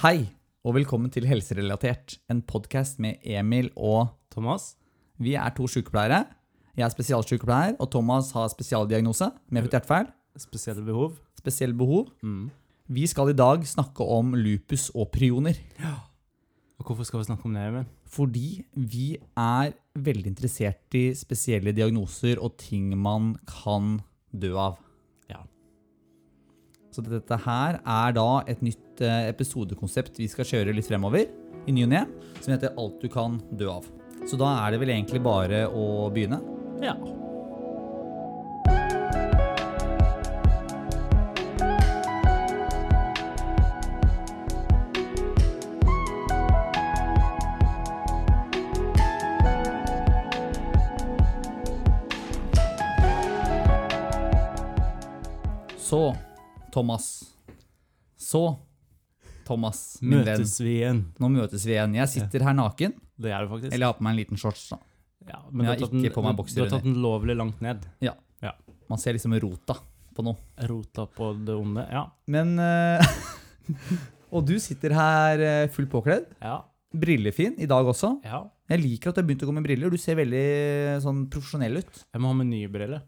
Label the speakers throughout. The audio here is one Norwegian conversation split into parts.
Speaker 1: Hei, og velkommen til Helserelatert, en podkast med Emil og
Speaker 2: Thomas?
Speaker 1: Vi er to sykepleiere. Jeg er spesialsykepleier, og Thomas har spesialdiagnose, medfødt hjertefeil,
Speaker 2: Spesielle behov?
Speaker 1: spesielle behov.
Speaker 2: Mm.
Speaker 1: Vi skal i dag snakke om lupus og prioner,
Speaker 2: Og hvorfor skal vi snakke om det, Emil?
Speaker 1: fordi vi er veldig interessert i spesielle diagnoser og ting man kan dø av.
Speaker 2: Ja.
Speaker 1: Så dette her er da et nytt eh, episodekonsept vi skal kjøre litt fremover i ny og ne, som heter Alt du kan dø av. Så da er det vel egentlig bare å begynne.
Speaker 2: Ja.
Speaker 1: Så, Thomas. Så, Thomas, min
Speaker 2: Møtes vi igjen?
Speaker 1: venn. Nå møtes vi igjen. Jeg sitter her naken,
Speaker 2: Det gjør du faktisk.
Speaker 1: eller jeg har på meg en liten shorts. da.
Speaker 2: ja, men
Speaker 1: jeg
Speaker 2: du
Speaker 1: har
Speaker 2: tatt den-
Speaker 1: ikke på meg bokser
Speaker 2: Du har tatt den lovlig langt ned.
Speaker 1: Ja.
Speaker 2: Ja.
Speaker 1: Man ser liksom rota på noe.
Speaker 2: Rota på det onde. Ja.
Speaker 1: Men eh, Og du sitter her eh, fullt påkledd.
Speaker 2: Ja.
Speaker 1: Brillefin i dag også.
Speaker 2: ja.
Speaker 1: Jeg liker at du har begynt å gå med briller. Du ser veldig sånn profesjonell ut.
Speaker 2: Jeg må ha med nye briller.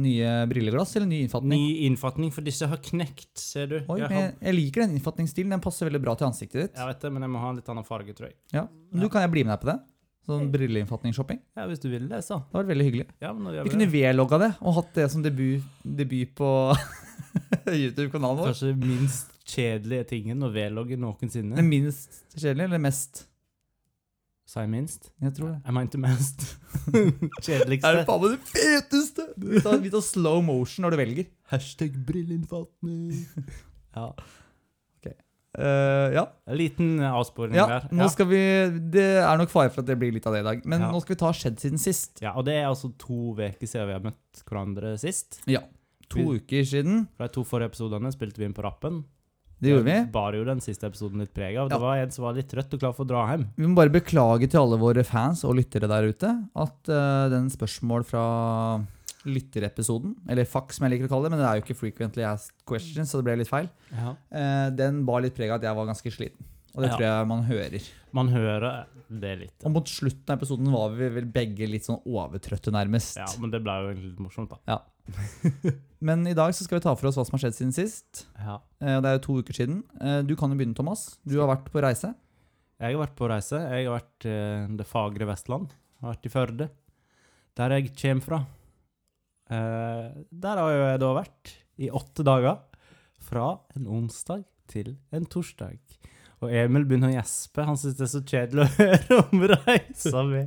Speaker 1: Nye brilleglass eller ny innfatning?
Speaker 2: Ny innfatning, for disse har knekt, ser du.
Speaker 1: Oi,
Speaker 2: jeg,
Speaker 1: men jeg,
Speaker 2: har,
Speaker 1: jeg liker den innfatningsstilen. Den passer veldig bra til ansiktet ditt.
Speaker 2: jeg vet det, men jeg må ha en litt annen farge, tror jeg.
Speaker 1: Ja. Du, kan jeg bli med deg på det? Sånn brilleinnfatningsshopping. Det
Speaker 2: Ja, hvis du vil det, så.
Speaker 1: hadde vært veldig hyggelig.
Speaker 2: Ja, men da gjør
Speaker 1: Vi
Speaker 2: vi
Speaker 1: kunne
Speaker 2: det.
Speaker 1: vlogga det og hatt det som debut, debut på YouTube-kanalen vår.
Speaker 2: Kanskje minst kjedelige tingen å vlogge noensinne.
Speaker 1: Den minst kjedelige eller mest?
Speaker 2: Sa jeg minst?
Speaker 1: Jeg tror det.
Speaker 2: Jeg mente mest.
Speaker 1: Er det
Speaker 2: Kjedeligste.
Speaker 1: faen meg det feteste? Vi tar, vi tar slow motion når du velger.
Speaker 2: Hashtag brilleinnfatning. Ja.
Speaker 1: Eh, ja.
Speaker 2: En liten avsporing
Speaker 1: ja.
Speaker 2: der.
Speaker 1: Nå skal vi Det er nok fare for at det blir litt av det i dag. Men
Speaker 2: Ja.
Speaker 1: nå skal vi ta skjedd siden sist.
Speaker 2: ja, og det er altså to uker siden vi har møtt hverandre sist.
Speaker 1: Ja. To uker siden.
Speaker 2: For de to forrige episodene spilte vi inn på rappen.
Speaker 1: Det gjorde vi.
Speaker 2: Bar jo den siste episoden litt preg av.
Speaker 1: Ja.
Speaker 2: Det var en som var litt trøtt og klar for å dra hjem.
Speaker 1: Vi må bare beklage til alle våre fans og lyttere der ute at eh, den spørsmål fra lytterepisoden, eller FAQ som jeg liker å kalle det, men det er jo ikke frequently asked questions, så det ble litt feil, eh, den bar litt preg av at jeg var ganske sliten. Og det
Speaker 2: Ja.
Speaker 1: tror jeg man hører.
Speaker 2: Man hører det litt.
Speaker 1: Og mot slutten av episoden var vi vel begge litt sånn overtrøtte, nærmest.
Speaker 2: Ja, men det ble jo egentlig litt morsomt, da.
Speaker 1: Men i dag så skal vi ta for oss hva som har skjedd siden sist.
Speaker 2: Ja.
Speaker 1: Eh, og Det er jo to uker siden. Eh, Du kan jo begynne, Thomas. Du har vært på reise.
Speaker 2: Jeg har vært på reise. Jeg har vært eh, det fagre Vestland. Jeg har vært i Førde. Der jeg kommer fra. Eh, der har jo jeg da vært i åtte dager. Fra en onsdag til en torsdag. Og Emil begynner å gjespe. Han syns det er så kjedelig å høre om reisa mi.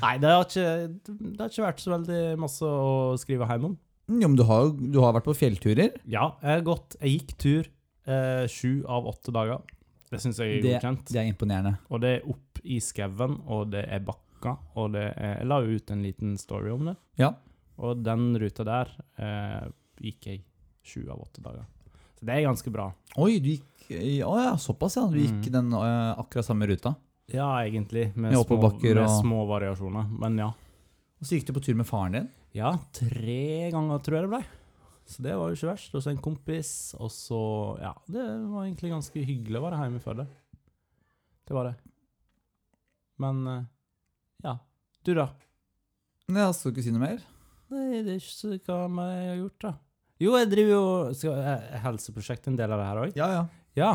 Speaker 2: Nei, det har, ikke, det har ikke vært så veldig masse å skrive hjem om.
Speaker 1: Mm, Jo, men du har jo du har vært på fjellturer.
Speaker 2: Ja, jeg har gått Jeg gikk tur eh, sju av åtte dager. Det syns jeg er
Speaker 1: Det-
Speaker 2: godkjent.
Speaker 1: Det er imponerende.
Speaker 2: Og det er opp i skauen, og det er bakka, og det er Jeg la jo ut en liten story om det.
Speaker 1: Ja.
Speaker 2: Og den ruta der eh, gikk jeg sju av åtte dager. Så det er ganske bra.
Speaker 1: Oi, du gikk i- Å ja, såpass, ja. Du gikk
Speaker 2: Mm.
Speaker 1: den eh, akkurat samme ruta.
Speaker 2: Ja, egentlig,
Speaker 1: Med
Speaker 2: med, små,
Speaker 1: oppoverbakker
Speaker 2: med
Speaker 1: og-
Speaker 2: små variasjoner. Men ja.
Speaker 1: Og så gikk du på tur med faren din.
Speaker 2: Ja, tre ganger tror jeg det ble. Så det var jo ikke verst. Og så en kompis, og så Ja, det var egentlig ganske hyggelig å være hjemme i Førde. Det var det. Men eh, ja. Du, da?
Speaker 1: Ja, skal du ikke altså, si noe mer?
Speaker 2: Nei, det er ikke så hva mer jeg har gjort, da. Jo, jeg driver jo skal, er- er Helseprosjektet en del av det her òg?
Speaker 1: Ja, ja.
Speaker 2: Ja.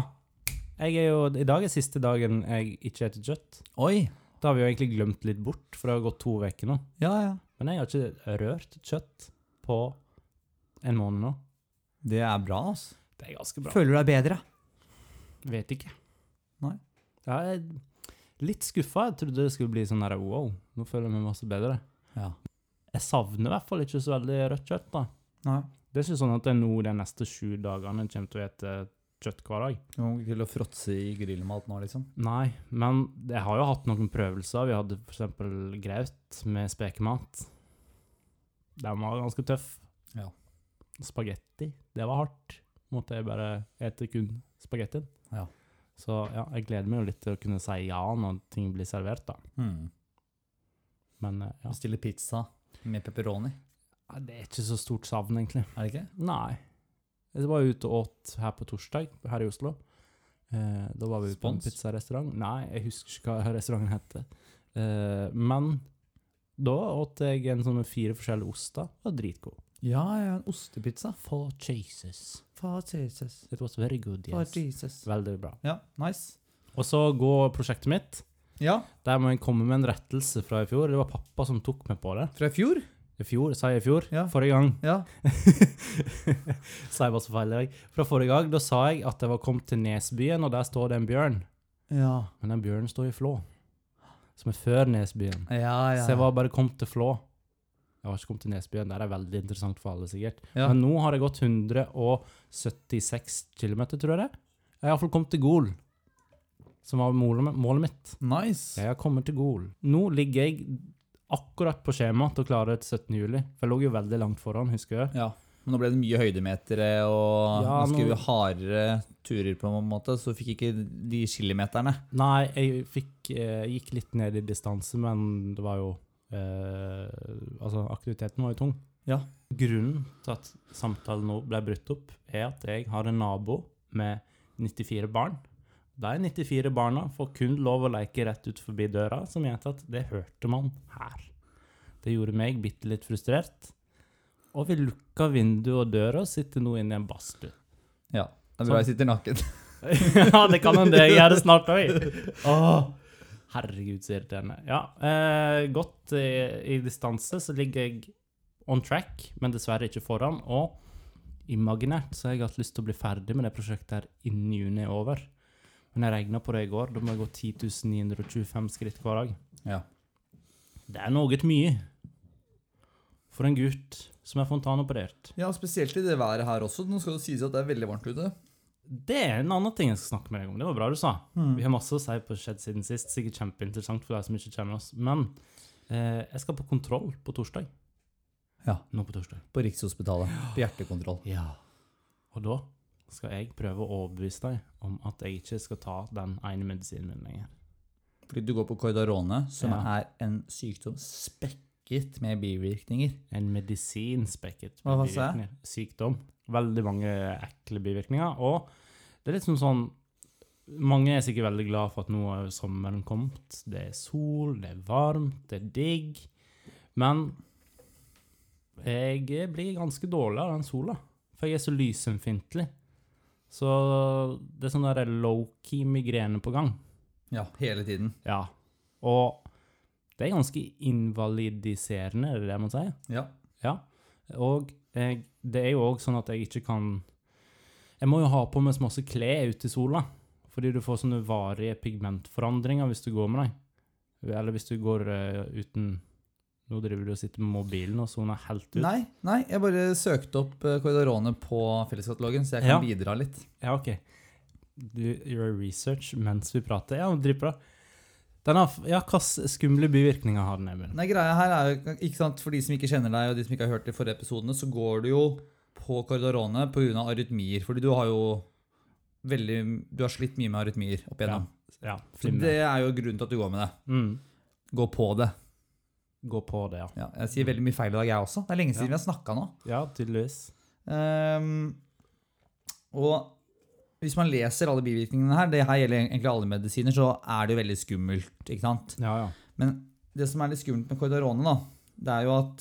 Speaker 2: Jeg er jo, I dag er siste dagen jeg ikke spiser kjøtt.
Speaker 1: Oi.
Speaker 2: Det har vi jo egentlig glemt litt bort, for det har gått to uker nå.
Speaker 1: Ja, ja.
Speaker 2: Men jeg har ikke rørt kjøtt på en måned nå.
Speaker 1: Det er bra, altså.
Speaker 2: Det er ganske bra.
Speaker 1: Føler du deg bedre?
Speaker 2: Vet ikke.
Speaker 1: Nei.
Speaker 2: Jeg er litt skuffa. Jeg trodde det skulle bli sånn her wow, nå føler jeg meg masse bedre.
Speaker 1: Ja.
Speaker 2: Jeg savner i hvert fall ikke så veldig rødt kjøtt, da.
Speaker 1: Nei.
Speaker 2: Det er ikke sånn at det er nå de neste sju dagene jeg kommer til å ete kjøtt hver dag.
Speaker 1: Du kommer ikke til å fråtse i grillmat nå, liksom?
Speaker 2: Nei, men jeg har jo hatt noen prøvelser. Vi hadde f.eks. graut med spekemat. Den var ganske tøff.
Speaker 1: Ja.
Speaker 2: Spagetti, det var hardt. Måtte jeg bare ete kun spagettien.
Speaker 1: Ja.
Speaker 2: Så ja, jeg gleder meg jo litt til å kunne si ja når ting blir servert, da.
Speaker 1: Mm.
Speaker 2: Men eh, ja.
Speaker 1: Bestille pizza med pepperoni,
Speaker 2: Nei, Det er ikke så stort savn, egentlig.
Speaker 1: er det ikke?
Speaker 2: Nei. Jeg var ute og åt her på torsdag, her i Oslo. Eh, da var vi på en
Speaker 3: Spons?
Speaker 2: pizzarestaurant. Nei, jeg husker ikke hva restauranten hette. Eh, men da åt jeg en sånn med fire forskjellige oster. Det var dritgod.
Speaker 1: Ja, ja, en ostepizza.
Speaker 2: For Jesus.
Speaker 1: For Jesus.
Speaker 2: It was very good,
Speaker 1: For
Speaker 2: yes.
Speaker 1: Jesus.
Speaker 2: Veldig bra.
Speaker 1: Ja, nice.
Speaker 2: Og så går prosjektet mitt.
Speaker 1: Ja,
Speaker 2: Der må jeg komme med en rettelse fra i fjor. Det var pappa som tok meg på det.
Speaker 1: fra i fjor.
Speaker 2: I fjor, sa jeg i fjor?
Speaker 1: Ja.
Speaker 2: Forrige gang.
Speaker 1: Ja.
Speaker 2: sa jeg bare så feil i dag. Fra forrige gang, da sa jeg at jeg var kommet til Nesbyen, og der står det en bjørn.
Speaker 1: Ja,
Speaker 2: Men den bjørnen står i Flå, som er før Nesbyen.
Speaker 1: ja. ja, ja.
Speaker 2: Så jeg var bare kommet til Flå. Jeg har ikke kommet til Nesbyen. Der er veldig interessant for alle, sikkert.
Speaker 1: Ja.
Speaker 2: Men nå har jeg gått 176 km, tror jeg det. er. Jeg har iallfall kommet til Gol, som var målet målet mitt.
Speaker 1: Nice.
Speaker 2: Jeg kommer til Gol. Nå ligger jeg akkurat på skjema til å klare det til 17. juli. For jeg lå jo veldig langt foran, husker jeg.
Speaker 1: Ja. Men nå ble det mye høydemetere og
Speaker 2: Ja,
Speaker 1: ganske
Speaker 2: nå-
Speaker 1: hardere turer, på en måte, så fikk ikke de kilometerne.
Speaker 2: Nei, jeg fikk, eh, gikk litt ned i distanse, men det var jo eh, Altså, aktiviteten var jo tung.
Speaker 1: Ja.
Speaker 2: Grunnen til at samtalen nå ble brutt opp, er at jeg har en nabo med 94 barn. De 94 barna får kun lov å leke rett ut forbi døra, som gjør at det hørte man her. Det gjorde meg bitte litt frustrert. Og vi lukka vinduet og døra og sitter nå inne i en badstue.
Speaker 1: Ja. Det er bra jeg sitter naken.
Speaker 2: ja, det kan hende jeg gjør det snart òg. Herregud, så irriterende. Ja, eh, godt eh, i distanse så ligger jeg on track, men dessverre ikke foran. Og imaginært så har jeg hatt lyst til å bli ferdig med det prosjektet her innen juni er over. Men jeg regna på det i går. Da må jeg gå 10.925 skritt hver dag.
Speaker 1: Ja.
Speaker 2: Det er noe mye for en gutt som er fontanoperert.
Speaker 1: ja, spesielt i det været her også. Nå skal det sies at det er veldig varmt ute.
Speaker 2: Det er en annen ting jeg skal snakke med deg om. Det var bra du sa. Vi har masse å si på Skjedd siden sist. Sikkert kjempeinteressant for deg som ikke kjenner oss. Men eh, jeg skal på kontroll på torsdag.
Speaker 1: Ja.
Speaker 2: Nå på torsdag.
Speaker 1: På Rikshospitalet. På hjertekontroll.
Speaker 2: Ja. Og da skal jeg prøve å overbevise deg om at jeg ikke skal ta den ene medisinen min lenger.
Speaker 1: Fordi du går på Cordarone, som
Speaker 2: Ja.
Speaker 1: er en sykdom spekket med bivirkninger.
Speaker 2: En medisinspekket
Speaker 1: Hva- hva sa jeg?
Speaker 2: bivirkninger. sykdom. Veldig mange ekle bivirkninger. Og det er litt som sånn Mange er sikkert veldig glad for at nå er jo sommeren kommet. Det er sol, det er varmt, det er digg. Men jeg blir ganske dårlig av den sola, for jeg er så lysømfintlig. Så det er sånn der low-key migrene på gang.
Speaker 1: Ja, hele tiden.
Speaker 2: Ja. Og det er ganske invalidiserende, er det det man sier?
Speaker 1: Ja.
Speaker 2: Ja, og jeg, det er jo òg sånn at jeg ikke kan Jeg må jo ha på meg så masse klær ute i sola, fordi du får sånne varige pigmentforandringer hvis du går med deg. Eller hvis du går eh, uten Nå driver du og sitter med mobilen og soner helt ut.
Speaker 1: Nei, nei, jeg bare søkte opp eh, Cordarone på felleskatalogen, så jeg kan
Speaker 2: Ja.
Speaker 1: bidra litt.
Speaker 2: Ja, OK. Du gjør research mens vi prater. Ja, dritbra. Den har, ja, hvilke skumle bivirkninger har den, Emil?
Speaker 1: Nei, greia her er jo, ikke sant, For de som ikke kjenner deg, og de som ikke har hørt de forrige episodene, så går du jo på Cordarone pga. arytmier. Fordi du har jo veldig, du har slitt mye med arytmier opp igjennom.
Speaker 2: Ja,
Speaker 1: så
Speaker 2: flimmer.
Speaker 1: det er jo grunnen til at du går med det.
Speaker 2: Mm.
Speaker 1: Gå på det.
Speaker 2: Gå på det, ja.
Speaker 1: Ja, jeg sier veldig mye feil i dag, jeg også. Det er lenge siden vi har snakka nå.
Speaker 2: Ja, tydeligvis.
Speaker 1: Ehm, og hvis man leser alle bivirkningene her, det her gjelder egentlig alle medisiner, så er det jo veldig skummelt. ikke sant?
Speaker 2: Ja, ja.
Speaker 1: Men det som er litt skummelt med Cordarone, da, det er jo at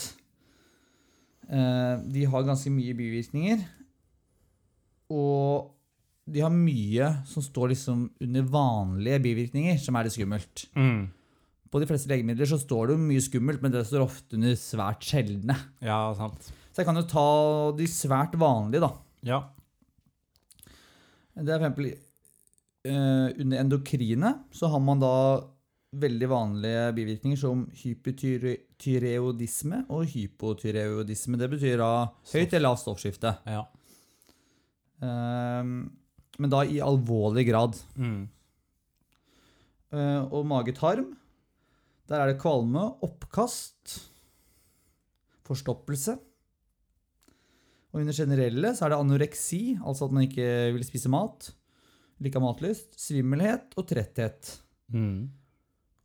Speaker 1: eh, de har ganske mye bivirkninger. Og de har mye som står liksom under vanlige bivirkninger, som er litt skummelt.
Speaker 2: Mm.
Speaker 1: På de fleste legemidler så står det jo mye skummelt, men det står ofte under svært sjeldne.
Speaker 2: Ja, sant.
Speaker 1: Så jeg kan jo ta de svært vanlige, da.
Speaker 2: Ja.
Speaker 1: Det er for eksempel eh, under endokrine så har man da veldig vanlige bivirkninger som hypotyreodisme og hypotyreodisme. Det betyr da høyt eller lavt stoffskifte.
Speaker 2: Ja.
Speaker 1: Ehm, men da i alvorlig grad.
Speaker 2: Mm.
Speaker 1: Eh, og mage-tarm, der er det kvalme, oppkast, forstoppelse. Og under generelle så er det anoreksi, altså at man ikke vil spise mat, eller ikke har matlyst, svimmelhet og tretthet.
Speaker 2: Mm.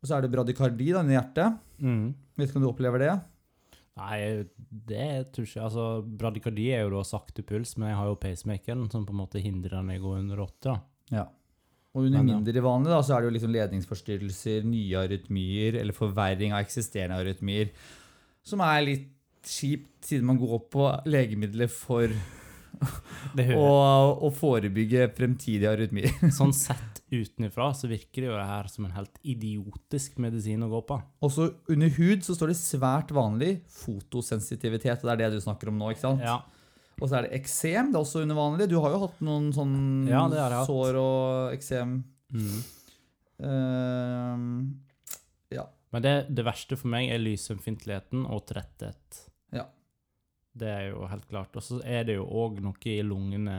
Speaker 1: Og så er det bradikardi da, under hjertet.
Speaker 2: Mm.
Speaker 1: Vet ikke om du opplever det?
Speaker 2: Nei, det tror ikke jeg. Altså, bradikardi er jo da sakte puls, men jeg har jo pacemakeren som på en måte hindrer den i å gå under 80. da.
Speaker 1: Ja. Og under
Speaker 2: Men, ja.
Speaker 1: mindre vanlig da, så er det jo liksom ledningsforstyrrelser, nye arytmier eller forverring av eksisterende arytmier, som er litt kjipt siden man går på legemidler for
Speaker 2: Det
Speaker 1: å,
Speaker 2: hører
Speaker 1: å forebygge fremtidige arytmier.
Speaker 2: jeg. Sånn sett utenfra så virker det jo det her som en helt idiotisk medisin å gå på.
Speaker 1: Også under hud så står det svært vanlig fotosensitivitet, og det er det du snakker om nå, ikke sant?
Speaker 2: Ja,
Speaker 1: Og så er det eksem, det er også under vanlig. Du har jo hatt noen sånn
Speaker 2: Ja, det har jeg hatt.
Speaker 1: sår og eksem.
Speaker 2: mm.
Speaker 1: Ehm,
Speaker 2: Men det, det verste for meg er lysømfintligheten og tretthet.
Speaker 1: Ja.
Speaker 2: Det er jo helt klart. Og så er det jo òg noe i lungene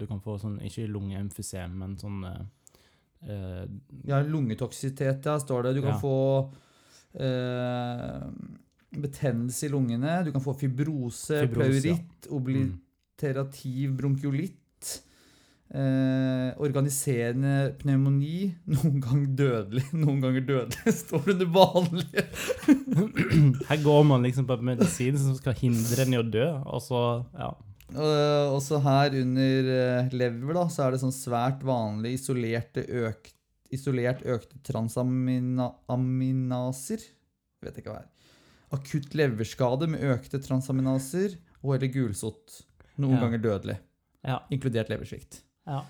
Speaker 2: Du kan få sånn, ikke lungeemfysem, men sånn eh, eh,
Speaker 1: Ja, lungetoksisitet, ja, står det. Du kan
Speaker 2: Ja.
Speaker 1: få eh, betennelse i lungene, du kan få fibrose,
Speaker 2: Fibrose,
Speaker 1: pleuritt,
Speaker 2: mm.
Speaker 1: obliterativ bronkiolitt, eh, organiserende pneumoni, noen gang dødelig, noen ganger dødelig, står det det vanlige.
Speaker 2: Her går man liksom på medisin som skal hindre en i å dø, og så Ja.
Speaker 1: Eh, også her under eh, lever da, så er det sånn svært vanlig isolerte økt, isolert økte transaminaser. Jeg vet ikke hva det er. Akutt leverskade med økte transaminaser og eller gulsott. Noen
Speaker 2: Ja.
Speaker 1: ganger dødelig,
Speaker 2: Ja.
Speaker 1: inkludert leversvikt.
Speaker 2: ja.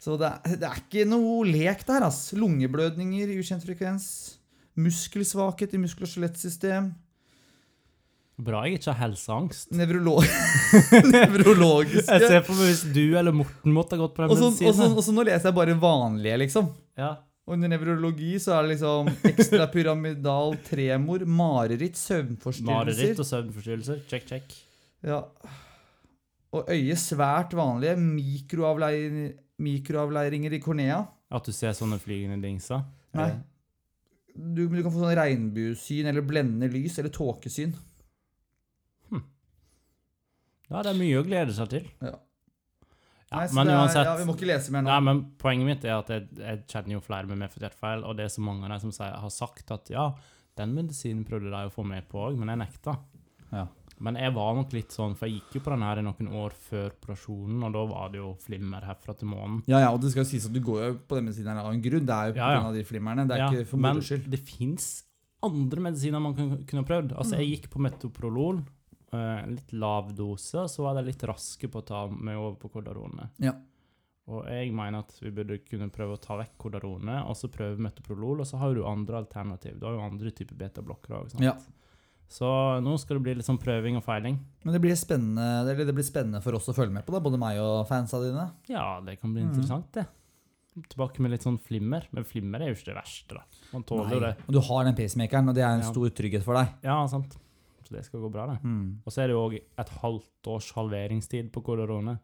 Speaker 1: Så det er, det er ikke noe lek der, ass. Lungeblødninger i ukjent frekvens. Muskelsvakhet i muskel- og skjelettsystem.
Speaker 2: Bra jeg ikke har helseangst.
Speaker 1: Nevrolo nevrologiske
Speaker 2: Jeg ser for meg hvis du eller Morten måtte ha gått på den
Speaker 1: Og så, og, så,
Speaker 2: medisinen.
Speaker 1: og så nå leser jeg bare vanlige, liksom.
Speaker 2: Ja.
Speaker 1: Og under nevrologi så er det liksom ekstrapyramidal tremor, mareritt, søvnforstyrrelser
Speaker 2: Mareritt og søvnforstyrrelser. Check, check.
Speaker 1: ja. Og øye svært vanlige, mikroavleir, mikroavleiringer i kornea.
Speaker 2: At du ser sånne flygende dingser.
Speaker 1: Nei.
Speaker 2: Eh,
Speaker 1: Du, du kan få sånn regnbuesyn eller blendende lys eller tåkesyn.
Speaker 2: Ja, det er mye å glede seg til.
Speaker 1: Ja.
Speaker 2: Ja,
Speaker 1: Nei, så
Speaker 2: men
Speaker 1: det er-
Speaker 2: uansett
Speaker 1: ja, Vi må ikke lese mer nå.
Speaker 2: Nei, men Poenget mitt er at jeg, jeg kjenner jo flere med medfødt hjertefeil, og det er så mange av dem som sier, har sagt at ja, den medisinen prøvde de å få meg på òg, men jeg nekta.
Speaker 1: Ja.
Speaker 2: Men jeg var nok litt sånn, for jeg gikk jo på den her i noen år før operasjonen, og da var det jo flimmer herfra til månen.
Speaker 1: Ja, ja, og det skal jo sies at du går jo på denne siden her av en grunn. Det er jo på
Speaker 2: Ja, ja.
Speaker 1: grunn av de flimmerne. Det er
Speaker 2: Ja,
Speaker 1: ikke for moro skyld.
Speaker 2: Men det fins andre medisiner man kan, kunne ha prøvd.
Speaker 1: Mm.
Speaker 2: Altså, jeg gikk på metoprolol, eh, litt lav dose, og så var de litt raske på å ta meg over på kordarone.
Speaker 1: Ja.
Speaker 2: Og jeg mener at vi burde kunne prøve å ta vekk kordarone, og så prøve metoprolol, og så har du andre alternativ. Du har jo andre typer betablokkere òg, sant.
Speaker 1: Ja.
Speaker 2: Så nå skal det bli litt sånn prøving og feiling.
Speaker 1: Men det blir, spennende, eller det blir spennende for oss å følge med på, da, både meg og fansa dine.
Speaker 2: Ja, det kan bli
Speaker 1: Mm.
Speaker 2: interessant, det. Tilbake med litt sånn flimmer. Men flimmer er jo ikke det verste, da. Man tåler jo det.
Speaker 1: Og du har den pacemakeren, og det er en
Speaker 2: Ja.
Speaker 1: stor trygghet for deg. Hmm.
Speaker 2: Ja, sant. Så det skal gå bra, det. Og så er det jo òg et halvt års halveringstid på kororone.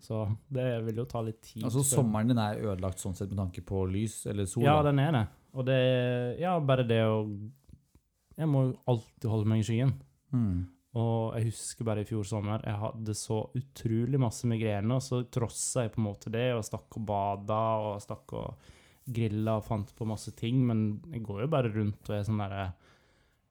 Speaker 2: Så det vil jo ta litt tid.
Speaker 1: Altså
Speaker 2: før-
Speaker 1: Sommeren din er ødelagt sånn sett med tanke på lys eller sol.
Speaker 2: Ja,
Speaker 1: da.
Speaker 2: den er det. Og det Ja, bare det å Jeg må jo alltid holde meg i skyggen.
Speaker 1: Mm.
Speaker 2: Og jeg husker bare i fjor sommer, jeg hadde så utrolig masse migrene, og så trossa jeg på en måte det, og stakk og bada, og stakk og grilla og fant på masse ting, men jeg går jo bare rundt og er sånn derre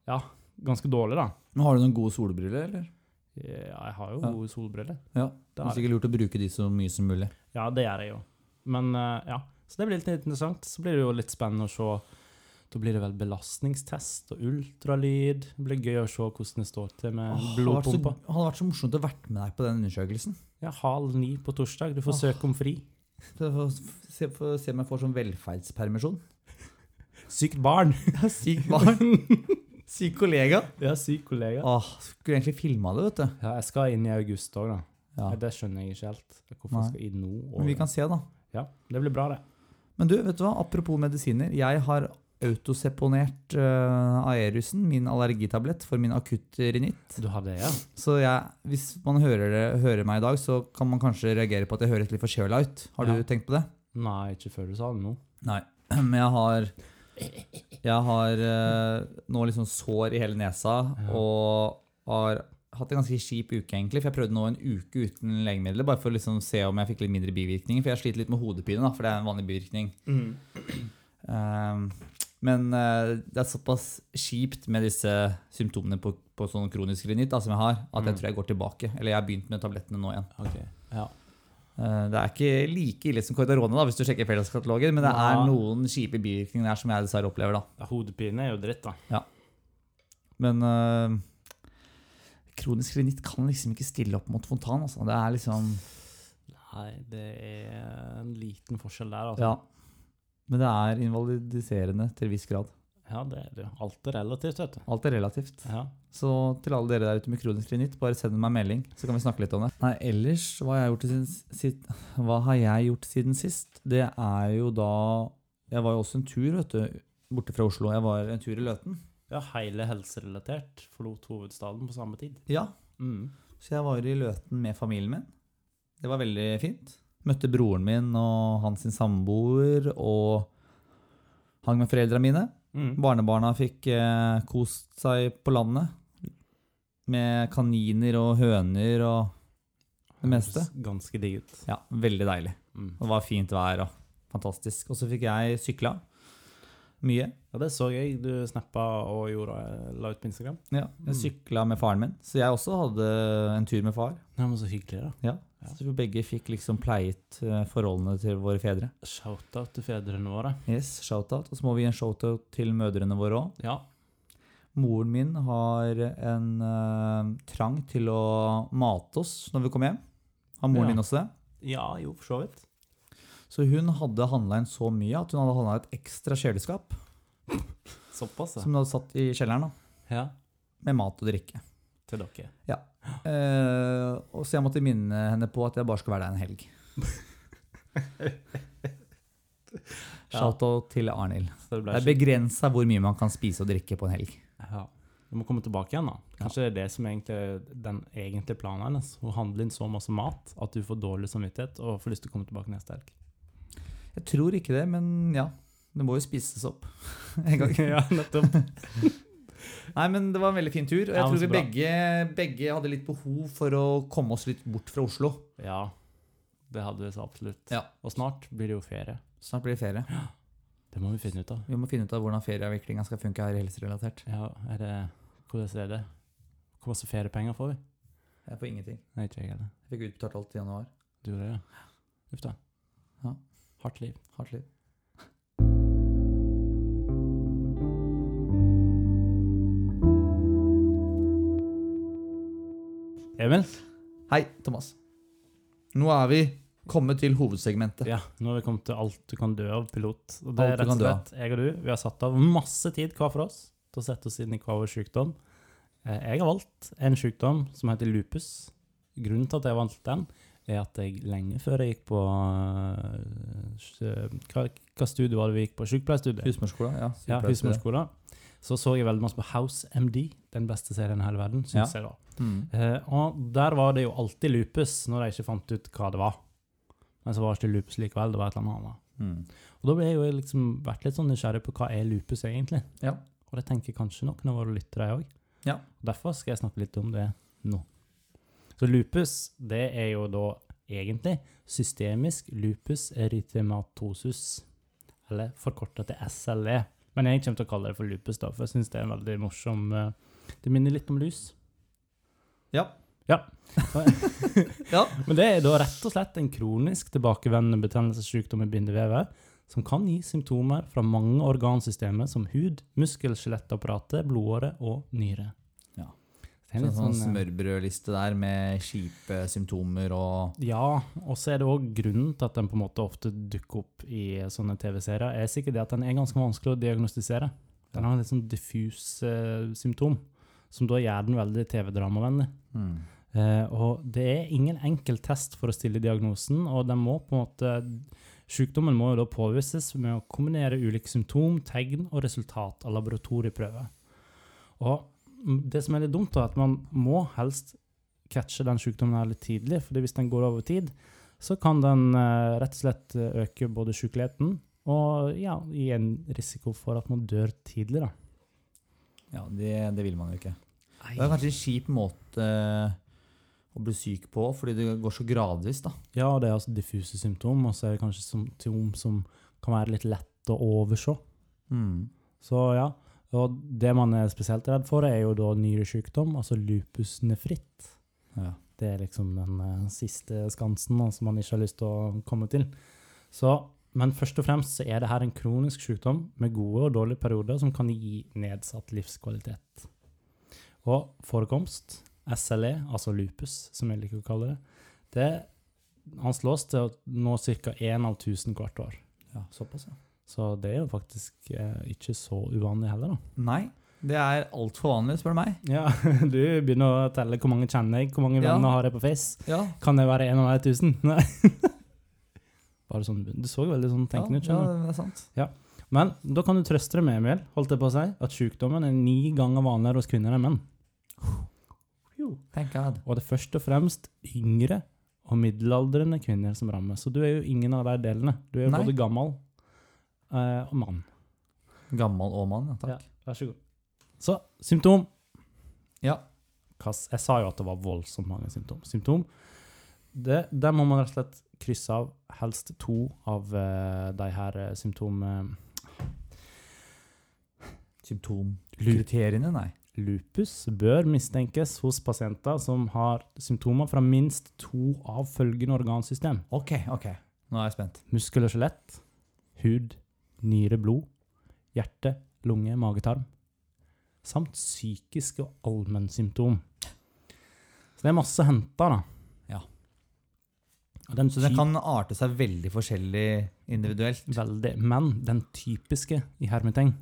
Speaker 2: Ja, ganske dårlig, da.
Speaker 1: Men Har du noen gode solbriller, eller?
Speaker 2: Ja, jeg har jo
Speaker 1: Ja.
Speaker 2: gode solbriller.
Speaker 1: Ja.
Speaker 2: Det
Speaker 1: Det
Speaker 2: har
Speaker 1: er sikkert lurt å bruke de så mye som mulig.
Speaker 2: Ja, det gjør jeg jo. Men eh, ja, så det blir litt interessant. Så blir det jo litt spennende å se. Da blir det vel belastningstest og ultralyd. Det blir gøy å se hvordan det står til med
Speaker 1: Åh, det hadde vært så-
Speaker 2: Eh, blodpumpa.
Speaker 1: hadde vært så morsomt å vært med deg på den undersøkelsen.
Speaker 2: Ja, halv ni på torsdag. Du får
Speaker 1: Åh.
Speaker 2: søke om fri.
Speaker 1: For å Se, for å se om jeg får sånn velferdspermisjon.
Speaker 2: Sykt barn!
Speaker 1: Sykt barn. Syk kollega.
Speaker 2: Ja, syk kollega.
Speaker 1: Åh, skulle egentlig filma det, vet du.
Speaker 2: Ja, jeg skal inn i august òg, da.
Speaker 1: Ja.
Speaker 2: Det skjønner jeg ikke helt. Hvorfor
Speaker 1: Nei.
Speaker 2: skal jeg inn nå? og-
Speaker 1: Men vi kan se, da.
Speaker 2: Ja, det blir bra, det.
Speaker 1: Men du, vet du hva? Apropos medisiner. Jeg har autoseponert uh, Aerusen, min allergitablett, for min akutt rinitt.
Speaker 2: Du har det, ja?
Speaker 1: Så jeg, hvis man hører, det, hører meg i dag, så kan man kanskje reagere på at jeg høres litt forkjøla ut. Har
Speaker 2: Ja.
Speaker 1: du tenkt på det?
Speaker 2: Nei, ikke før du sa det nå.
Speaker 1: Nei. Men jeg har Jeg har eh, nå liksom sår i hele nesa
Speaker 2: Ja.
Speaker 1: og har hatt en ganske kjip uke, egentlig. For jeg prøvde nå en uke uten legemidler, bare for å liksom se om jeg fikk litt mindre bivirkninger. For jeg sliter litt med hodepine, da, for det er en vanlig bivirkning.
Speaker 2: Mm.
Speaker 1: Ehm, men eh, det er såpass kjipt med disse symptomene på, på sånn kronisk rinitt da, som jeg har, at jeg
Speaker 2: Mm.
Speaker 1: tror jeg går tilbake. Eller jeg har begynt med tablettene nå igjen.
Speaker 2: Ok, ja.
Speaker 1: Eh, Det er ikke like ille som Cordarone, da, hvis du sjekker felleskatalogen, men det er
Speaker 2: Ja.
Speaker 1: noen kjipe bivirkninger der som jeg dessverre opplever. da.
Speaker 2: Hodepine er jo dritt, da.
Speaker 1: Men øh, kronisk rinitt kan liksom ikke stille opp mot fontan. Altså. Det er liksom
Speaker 2: Nei, det er en liten forskjell der, altså.
Speaker 1: Ja. Men det er invalidiserende til en viss grad.
Speaker 2: Ja, det er det. jo. Alt er relativt, vet du.
Speaker 1: Alt er relativt.
Speaker 2: Ja.
Speaker 1: Så til alle dere der ute med kronisk rinitt, bare send meg en melding, så kan vi snakke litt om det. Nei, ellers, hva har jeg gjort siden, sitt, hva har jeg gjort siden sist? Det er jo da Jeg var jo også en tur, vet du, borte fra Oslo. Jeg var en tur i Løten.
Speaker 2: ja, hele helserelatert forlot hovedstaden på samme tid.
Speaker 1: Ja,
Speaker 2: Mm.
Speaker 1: Så jeg var i Løten med familien min. Det var veldig fint. Møtte broren min og hans sin samboer, og hang med foreldra mine.
Speaker 2: Mm.
Speaker 1: Barnebarna fikk eh, kost seg på landet med kaniner og høner og det meste.
Speaker 2: Høres Ganske digg ut.
Speaker 1: Ja, veldig deilig.
Speaker 2: Mm.
Speaker 1: Det var fint vær og fantastisk. Og så fikk jeg sykla mye.
Speaker 2: Ja, det så jeg du snappa og gjorde, la ut på Instagram.
Speaker 1: Ja,
Speaker 2: Mm.
Speaker 1: jeg sykla med faren min, så jeg også hadde en tur med far.
Speaker 2: Ja, men Så hyggelig, da.
Speaker 1: Så vi begge fikk liksom pleiet eh, forholdene til våre fedre.
Speaker 2: Shout-out til fedrene våre.
Speaker 1: Yes, shoutout. Og så må vi gi en shoutout til mødrene våre òg.
Speaker 2: Ja.
Speaker 1: Moren min har en eh, trang til å mate oss når vi kommer hjem. Har moren
Speaker 2: Ja.
Speaker 1: din også det?
Speaker 2: ja, jo, for så vidt.
Speaker 1: Så hun hadde handla inn så mye at hun hadde handla et ekstra kjøleskap
Speaker 2: Såpass, ja.
Speaker 1: som hun hadde satt i kjelleren da,
Speaker 2: ja.
Speaker 1: med mat og drikke.
Speaker 2: Til dere.
Speaker 1: Eh, og så jeg måtte minne henne på at jeg bare skal være der en helg. Shoutout til Arnhild.
Speaker 2: Så det
Speaker 1: Det
Speaker 2: ble
Speaker 1: er begrensa hvor mye man kan spise og drikke på en helg.
Speaker 2: Ja. Du må komme tilbake igjen, da. Kanskje det er det som egentlig er den egentlige planen hennes. Hun handler inn så masse mat at du får dårlig samvittighet og får lyst til å komme tilbake neste helg.
Speaker 1: Jeg tror ikke det, men ja. Det må jo spises opp en gang.
Speaker 2: ja, nettopp.
Speaker 1: Nei, men det var en veldig fin tur. Og jeg
Speaker 2: Ja, men
Speaker 1: tror
Speaker 2: så
Speaker 1: vi
Speaker 2: bra.
Speaker 1: begge, begge hadde litt behov for å komme oss litt bort fra Oslo.
Speaker 2: Ja, det hadde vi så absolutt.
Speaker 1: Ja.
Speaker 2: Og snart blir det jo ferie.
Speaker 1: Snart blir det ferie.
Speaker 2: Det må vi finne ut av.
Speaker 1: Vi må finne ut av hvordan ferieavviklinga skal funke her i helserelatert.
Speaker 2: Ja, er det Hvordan er det? Hvor masse feriepenger får vi?
Speaker 1: Jeg får ingenting.
Speaker 2: Nei, ikke jeg heller.
Speaker 1: Jeg fikk utbetalt alt i januar.
Speaker 2: Du gjorde det, ja. Uff da.
Speaker 1: Ja.
Speaker 2: Hardt liv.
Speaker 1: Hardt liv.
Speaker 2: Emil?
Speaker 1: Hei, Thomas. Nå er vi kommet til hovedsegmentet.
Speaker 2: Ja, nå har vi kommet til alt du kan dø av, pilot. Og det
Speaker 1: Alt
Speaker 2: er
Speaker 1: du
Speaker 2: rett og
Speaker 1: kan dø av.
Speaker 2: slett jeg og du. Vi har satt av masse tid hver for oss til å sette oss inn i hver vår sykdom. Eh, Jeg har valgt en sykdom som heter lupus. Grunnen til at jeg valgte den, er at jeg lenge før jeg gikk på eh, s- Hva, hva studie var det vi gikk på? Sykepleierstudiet?
Speaker 1: Husmorskolen, ja.
Speaker 2: Ja,
Speaker 1: Sykepleierstudie.
Speaker 2: husmorskolen. Så så jeg veldig masse på House MD, den beste serien i hele verden, syns jeg da.
Speaker 1: Mm.
Speaker 2: Eh, og der var det jo alltid lupus, når jeg ikke fant ut hva det var. Men så var det ikke lupus likevel, det var et eller annet annet.
Speaker 1: Mm.
Speaker 2: Og da ble jeg jo liksom vært litt sånn nysgjerrig på hva er lupus egentlig.
Speaker 1: Ja.
Speaker 2: Og det tenker kanskje noen av våre lyttere òg.
Speaker 1: Ja.
Speaker 2: Derfor skal jeg snakke litt om det nå. Så lupus, det er jo da egentlig systemisk lupus erythematosus. Eller forkorta til SLE. Men jeg kommer til å kalle det for lupus, da, for jeg syns det er en veldig morsom eh, Det minner litt om lus.
Speaker 1: Ja.
Speaker 2: Ja.
Speaker 1: Ja.
Speaker 2: Men det er da rett og slett en kronisk tilbakevendende betennelsessykdom i bindevevet som kan gi symptomer fra mange organsystemer som hud, muskel, skjelettapparatet, blodåre og nyre.
Speaker 1: Ja.
Speaker 2: Det er
Speaker 1: Sånn,
Speaker 2: litt sånn, eh,
Speaker 1: smørbrødliste der med kjipe symptomer og
Speaker 2: ja, og så er det òg grunnen til at den på en måte ofte dukker opp i sånne TV-serier, er sikkert det at den er ganske vanskelig å diagnostisere. Den har en litt sånn diffus eh, symptom, som da gjør den veldig TV-dramavennlig.
Speaker 1: mm.
Speaker 2: Eh, og det er ingen enkel test for å stille diagnosen, og den må på en måte Sykdommen må jo da påvises med å kombinere ulike symptom, tegn og resultat av laboratorieprøver. Og det som er litt dumt, da, er at man må helst catche den sykdommen her litt tidlig, fordi hvis den går over tid, så kan den eh, rett og slett eh, øke både sykeligheten og ja, gi en risiko for at man dør tidlig, da.
Speaker 1: Ja, det, det vil man jo ikke. Det er kanskje en kjip måte eh, å bli syk på, fordi det går så gradvis, da.
Speaker 2: Ja, det er altså diffuse symptom, og så er det kanskje symptom som kan være litt lett å overse.
Speaker 1: Mm.
Speaker 2: Så ja, og det man er spesielt redd for, er jo da nyresykdom, altså lupus nefritt.
Speaker 1: Ja.
Speaker 2: Det er liksom den eh, siste skansen da, som man ikke har lyst til å komme til. Så, men først og fremst så er det her en kronisk sykdom med gode og dårlige perioder som kan gi nedsatt livskvalitet. Og forekomst, SLE, altså lupus, som jeg liker å kalle det, det anslås til å nå ca. 1 av 1000 hvert år.
Speaker 1: Ja, såpass, ja.
Speaker 2: Så det er jo faktisk eh, ikke så uvanlig heller, da.
Speaker 1: Nei, det er altfor vanlig, spør du meg.
Speaker 2: Ja, du begynner å telle hvor mange kjenner jeg, hvor mange
Speaker 1: Ja.
Speaker 2: venner har jeg på Face.
Speaker 1: Ja,
Speaker 2: Kan jeg være en av de tusen? Nei. Bare sånn, du så veldig sånn tenkende ut,
Speaker 1: ja,
Speaker 2: skjønner du.
Speaker 1: ja, det er sant.
Speaker 2: Men da kan du trøste deg med, Emil, holdt jeg på å si, at sykdommen er ni ganger vanligere hos kvinner enn menn. Jo.
Speaker 1: Thank God.
Speaker 2: Og det er først og fremst yngre og middelaldrende kvinner som rammes. Så du er jo ingen av de delene. Du er jo
Speaker 1: Nei.
Speaker 2: både gammel eh, og mann.
Speaker 1: Gammel og mann, ja, takk.
Speaker 2: Vær så god. Så symptom.
Speaker 1: Ja.
Speaker 2: Kass, jeg sa jo at det var voldsomt mange symptom. Symptom. Det, der må man rett og slett krysse av helst to av eh, de her eh, symptom... eh,
Speaker 1: Symptomkriteriene, nei.
Speaker 2: lupus bør mistenkes hos pasienter som har symptomer fra minst to av følgende organsystem.
Speaker 1: Ok, ok. Nå er jeg spent.
Speaker 2: Muskel og skjelett, hud, nyre, blod, hjerte, lunge, magetarm. Samt psykiske og allmennsymptom. Så det er masse henta, da.
Speaker 1: Ja.
Speaker 2: Og den
Speaker 1: Så det kan arte seg veldig forskjellig individuelt.
Speaker 2: Veldig. Men den typiske i hermetegn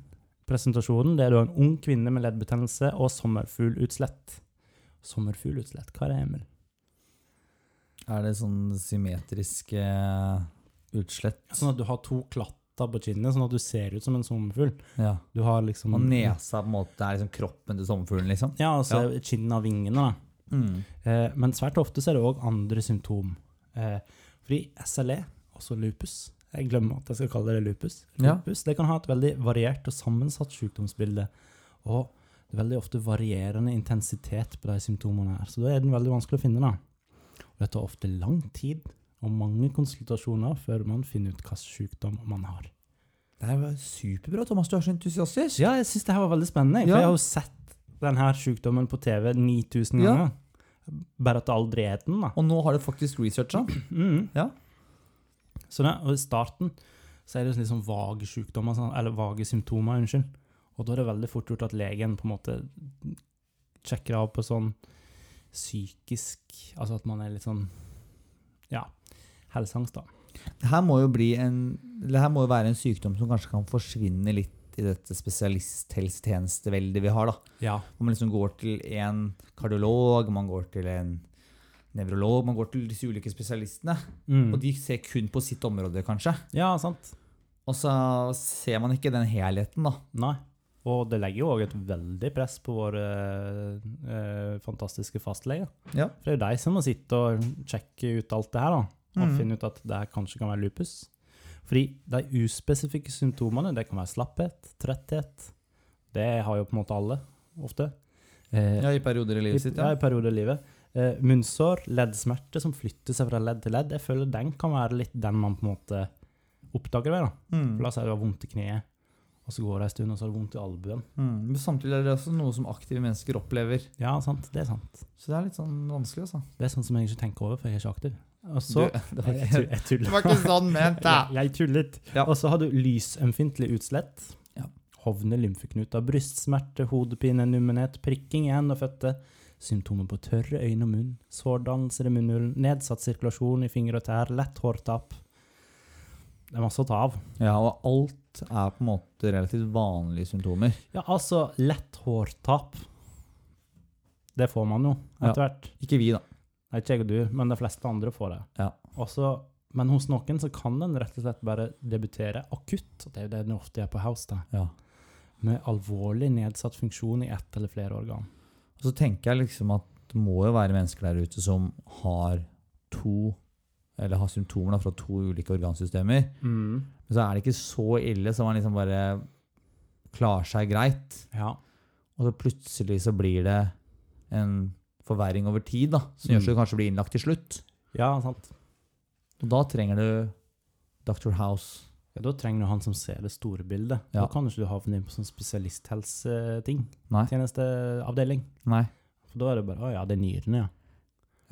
Speaker 2: presentasjonen, det er da en ung kvinne med leddbetennelse og sommerfuglutslett. Sommerfuglutslett, hva er det, Emil?
Speaker 1: Er det sånn symmetriske utslett?
Speaker 2: Sånn at du har to klatter på kinnet, sånn at du ser ut som en sommerfugl.
Speaker 1: Ja.
Speaker 2: Du har liksom
Speaker 1: Og nesa på en måte er liksom kroppen til sommerfuglen, liksom?
Speaker 2: Ja, altså kinnet av vingene, da.
Speaker 1: Mm.
Speaker 2: Eh, men svært ofte så er det òg andre symptom. Eh, fordi SLE, altså lupus Jeg glemmer at jeg skal kalle det lupus.
Speaker 1: Ja.
Speaker 2: Lupus det kan ha et veldig variert og sammensatt sykdomsbilde. Og det er veldig ofte varierende intensitet på de symptomene her. Så da er den veldig vanskelig å finne. da. Og det tar ofte lang tid og mange konsultasjoner før man finner ut hvilken sykdom man har.
Speaker 1: Det her var superbra, Thomas. Du er så entusiastisk.
Speaker 2: Ja, jeg syns det her var veldig spennende. For
Speaker 1: Ja.
Speaker 2: jeg har jo sett denne sykdommen på TV 9000
Speaker 1: Ja.
Speaker 2: ganger. Bare at det aldri er den, da.
Speaker 1: Og nå har du faktisk researcha.
Speaker 2: Mm.
Speaker 1: Ja.
Speaker 2: Så da, og I starten så er det litt sånn vage sykdommer, sånn, eller vage symptomer, unnskyld. Og da er det veldig fort gjort at legen på en måte sjekker av på sånn psykisk Altså at man er litt sånn Ja. Helseangst, da.
Speaker 1: Det her må jo bli en Det her må jo være en sykdom som kanskje kan forsvinne litt i dette spesialisthelsetjenesteveldet vi har, da.
Speaker 2: Ja.
Speaker 1: Hvor man liksom går til en kardiolog, man går til en nevrolog, man går til disse ulike spesialistene. Og
Speaker 2: Mm.
Speaker 1: de ser kun på sitt område, kanskje.
Speaker 2: Ja, sant.
Speaker 1: Og så ser man ikke den helheten, da.
Speaker 2: Nei. Og det legger jo òg et veldig press på våre eh, fantastiske fastleger.
Speaker 1: Ja.
Speaker 2: For det er jo de som må sitte og sjekke ut alt det her, da. Og
Speaker 1: Mm.
Speaker 2: finne ut at det her kanskje kan være lupus. Fordi de uspesifikke symptomene, det kan være slapphet, tretthet. Det har jo på en måte alle, ofte. Eh,
Speaker 1: Ja, I perioder i
Speaker 2: i,
Speaker 1: livet sitt,
Speaker 2: ja,
Speaker 1: ja.
Speaker 2: i perioder i livet. Eh, munnsår, leddsmerter som flytter seg fra ledd til ledd. Jeg føler den kan være litt den man på en måte oppdager ved. da.
Speaker 1: Mm.
Speaker 2: For La oss si du har vondt i kneet, og så går det en stund, og så har du vondt i albuen.
Speaker 1: Mm. Men samtidig er det også noe som aktive mennesker opplever.
Speaker 2: Ja, sant, det er sant.
Speaker 1: Så det er litt sånn vanskelig, altså.
Speaker 2: Det er sånn som jeg ikke tenker over, for jeg er ikke aktiv. Og så,
Speaker 1: Du- det, var
Speaker 2: jeg, jeg,
Speaker 1: ikke,
Speaker 2: tull- jeg tuller.
Speaker 1: det var ikke sånn ment,
Speaker 2: Jeg,
Speaker 1: da!
Speaker 2: jeg tullet.
Speaker 1: Ja.
Speaker 2: Og så har du lysømfintlig utslett.
Speaker 1: Ja.
Speaker 2: Hovne lymfeknuter, brystsmerter, hodepine, nummenhet, prikking i hendene og føtter. Symptomer på tørre øyne og munn, sårdannelser i munnhulen, nedsatt sirkulasjon i fingre og tær, lett hårtap. Det er masse å ta av.
Speaker 1: Ja, og alt er på en måte relativt vanlige symptomer.
Speaker 2: Ja, altså, lett hårtap. Det får man jo etter hvert.
Speaker 1: Ikke vi, da.
Speaker 2: Nei, ikke jeg og du, men de fleste andre får det.
Speaker 1: Ja.
Speaker 2: Og så- men hos noen så kan den rett og slett bare debutere akutt, og det er jo det den ofte gjør på House. da. med alvorlig nedsatt funksjon i ett eller flere organ.
Speaker 1: Og så tenker jeg liksom at det må jo være mennesker der ute som har to eller har symptomer da, fra to ulike organsystemer. Men så er det ikke så ille som man liksom bare klarer seg greit.
Speaker 2: Ja.
Speaker 1: Og så plutselig så blir det en forverring over tid, da, som
Speaker 2: Mm.
Speaker 1: gjør så du kanskje blir innlagt til slutt.
Speaker 2: ja, sant.
Speaker 1: Og da trenger du Dr. House.
Speaker 2: Ja, da trenger du han som ser det store bildet. Da
Speaker 1: Ja.
Speaker 2: kan ikke du havne inn på sånn spesialisthelseting.
Speaker 1: Nei.
Speaker 2: Tjenesteavdeling.
Speaker 1: Nei.
Speaker 2: For da er det bare Å ja, det er nyrene, ja.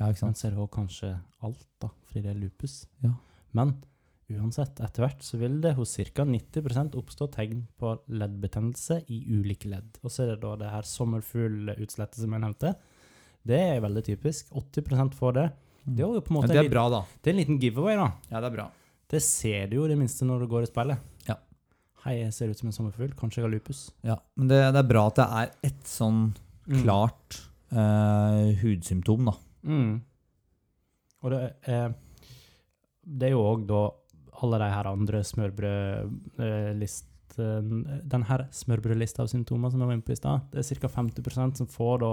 Speaker 1: Ja, ikke
Speaker 2: Men
Speaker 1: sant?
Speaker 2: så er det også kanskje alt, da, fordi det er lupus.
Speaker 1: Ja.
Speaker 2: Men uansett, etter hvert så vil det hos ca. 90 oppstå tegn på leddbetennelse i ulike ledd. Og så er det da det her sommerfuglutslettet som jeg nevnte. Det er veldig typisk. 80 får det. Det er jo på en
Speaker 1: Mm. Men
Speaker 2: måte
Speaker 1: det
Speaker 2: en,
Speaker 1: er bra, da.
Speaker 2: liten, det er en liten giveaway, da.
Speaker 1: Ja, det er bra.
Speaker 2: Det ser du jo i det minste når du går i speilet.
Speaker 1: Ja.
Speaker 2: Hei, jeg ser ut som en sommerfugl. Kanskje jeg har lupus.
Speaker 1: Ja, men det, det er bra at det er et sånn klart eh, hudsymptom, da.
Speaker 2: Mm. Og det er, det er jo òg da alle de her andre smørbrødlisten eh, Den her smørbrødlista av symptomer som jeg var inne på i stad, det er ca. 50 som får da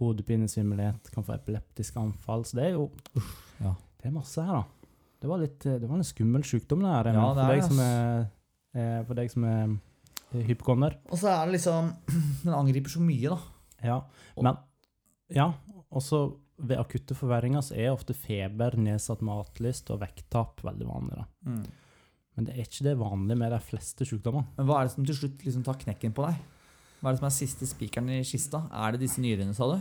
Speaker 2: hodepinesvimmelhet, kan få epileptiske anfall, så det er jo
Speaker 1: ja.
Speaker 2: Det er masse her, da. Det var, litt, det var en skummel sykdom, det her. Emil,
Speaker 1: Ja, det
Speaker 2: for,
Speaker 1: er
Speaker 2: deg
Speaker 1: det,
Speaker 2: som er, eh, for deg som er hypokonder.
Speaker 1: Og så er det liksom Den angriper så mye, da.
Speaker 2: Ja,
Speaker 1: Og-
Speaker 2: men Ja, også ved akutte forverringer så er ofte feber, nedsatt matlyst og vekttap veldig vanlig. da.
Speaker 1: Mm.
Speaker 2: Men det er ikke det vanlige med de fleste sykdommer.
Speaker 1: Men hva er det som til slutt liksom tar knekken på deg? Hva er det som er siste spikeren i kista? Er det disse nyrene, sa du?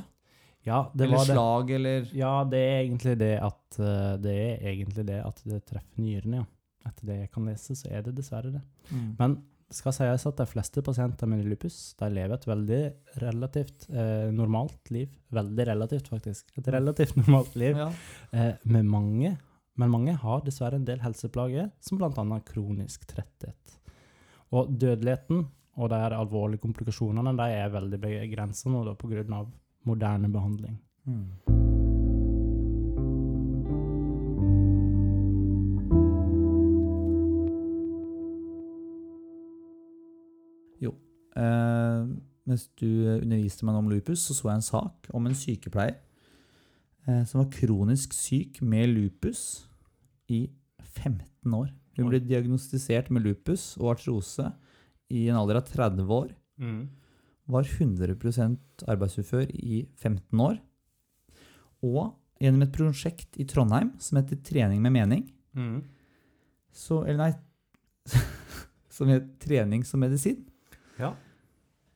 Speaker 2: Ja, det
Speaker 1: eller
Speaker 2: var det.
Speaker 1: slag, eller
Speaker 2: Ja, det er egentlig det at eh, det er egentlig det at det treffer nyrene, ja. Etter det jeg kan lese, så er det dessverre det.
Speaker 1: Mm.
Speaker 2: Men det skal sies at de fleste pasienter med lupus de lever et veldig relativt eh, normalt liv. Veldig relativt, faktisk. Et relativt normalt liv.
Speaker 1: ja.
Speaker 2: Eh, med mange, men mange har dessverre en del helseplager, som bl.a. kronisk tretthet. Og dødeligheten og de her alvorlige komplikasjonene de er veldig begrensa nå da pga. moderne behandling.
Speaker 1: Eh, mens du underviste meg om lupus, så så jeg en sak om en sykepleier eh, som var kronisk syk med lupus i 15 år. Hun ble diagnostisert med lupus og artrose i en alder av 30 år.
Speaker 2: Mm.
Speaker 1: Var 100 arbeidsufør i 15 år. Og gjennom et prosjekt i Trondheim som heter Trening med mening,
Speaker 2: Mm.
Speaker 1: så, eller nei, som het Trening som medisin,
Speaker 2: Ja.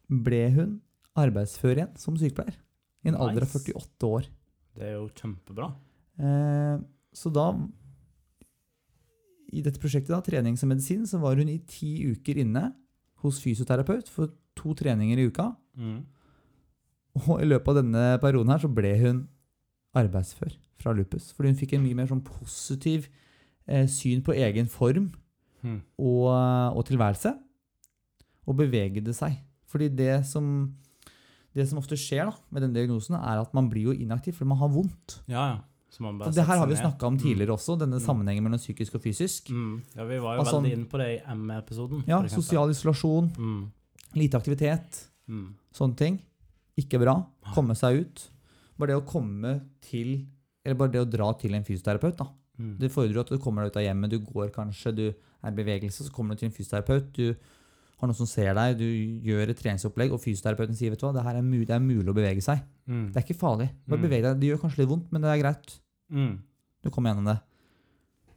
Speaker 1: ble hun arbeidsfør igjen som sykepleier. I en alder av
Speaker 2: Nice.
Speaker 1: 48 år.
Speaker 2: Det er jo kjempebra.
Speaker 1: Eh, så da I dette prosjektet, da, trening som medisin, så var hun i ti uker inne hos fysioterapeut for to treninger i uka.
Speaker 2: Mm.
Speaker 1: Og i løpet av denne perioden her så ble hun arbeidsfør fra lupus. Fordi hun fikk en mye mer sånn positiv eh, syn på egen form Mm.
Speaker 2: Mhm.
Speaker 1: og, eh, og tilværelse. Og bevegde seg. Fordi det som, det som ofte skjer da, med den diagnosen, er at man blir jo inaktiv fordi man har vondt.
Speaker 2: Ja, ja. Så man bare
Speaker 1: Og det her
Speaker 2: setter
Speaker 1: har vi jo
Speaker 2: seg ned.
Speaker 1: snakka om tidligere også, denne
Speaker 2: Mm.
Speaker 1: sammenhengen mellom psykisk og fysisk.
Speaker 2: Mm. Ja, vi var jo
Speaker 1: Altså,
Speaker 2: veldig inne på det i ME-episoden.
Speaker 1: Ja,
Speaker 2: for eksempel.
Speaker 1: Sosial isolasjon,
Speaker 2: Mm.
Speaker 1: lite aktivitet,
Speaker 2: Mm.
Speaker 1: sånne ting. Ikke bra. Komme seg ut. Bare det å komme til Eller bare det å dra til en fysioterapeut, da.
Speaker 2: Mm.
Speaker 1: Det fordrer jo at du kommer deg ut av hjemmet, du går kanskje, du er i bevegelse, så kommer du til en fysioterapeut, du har noen som ser deg, du gjør et treningsopplegg, og fysioterapeuten sier vet du hva, det, her er mulig, det er mulig å bevege seg.
Speaker 2: Mm.
Speaker 1: Det er ikke farlig. Bare
Speaker 2: Mm.
Speaker 1: beveg deg. Det gjør kanskje litt vondt, men det er greit.
Speaker 2: Mm.
Speaker 1: Du kommer gjennom det.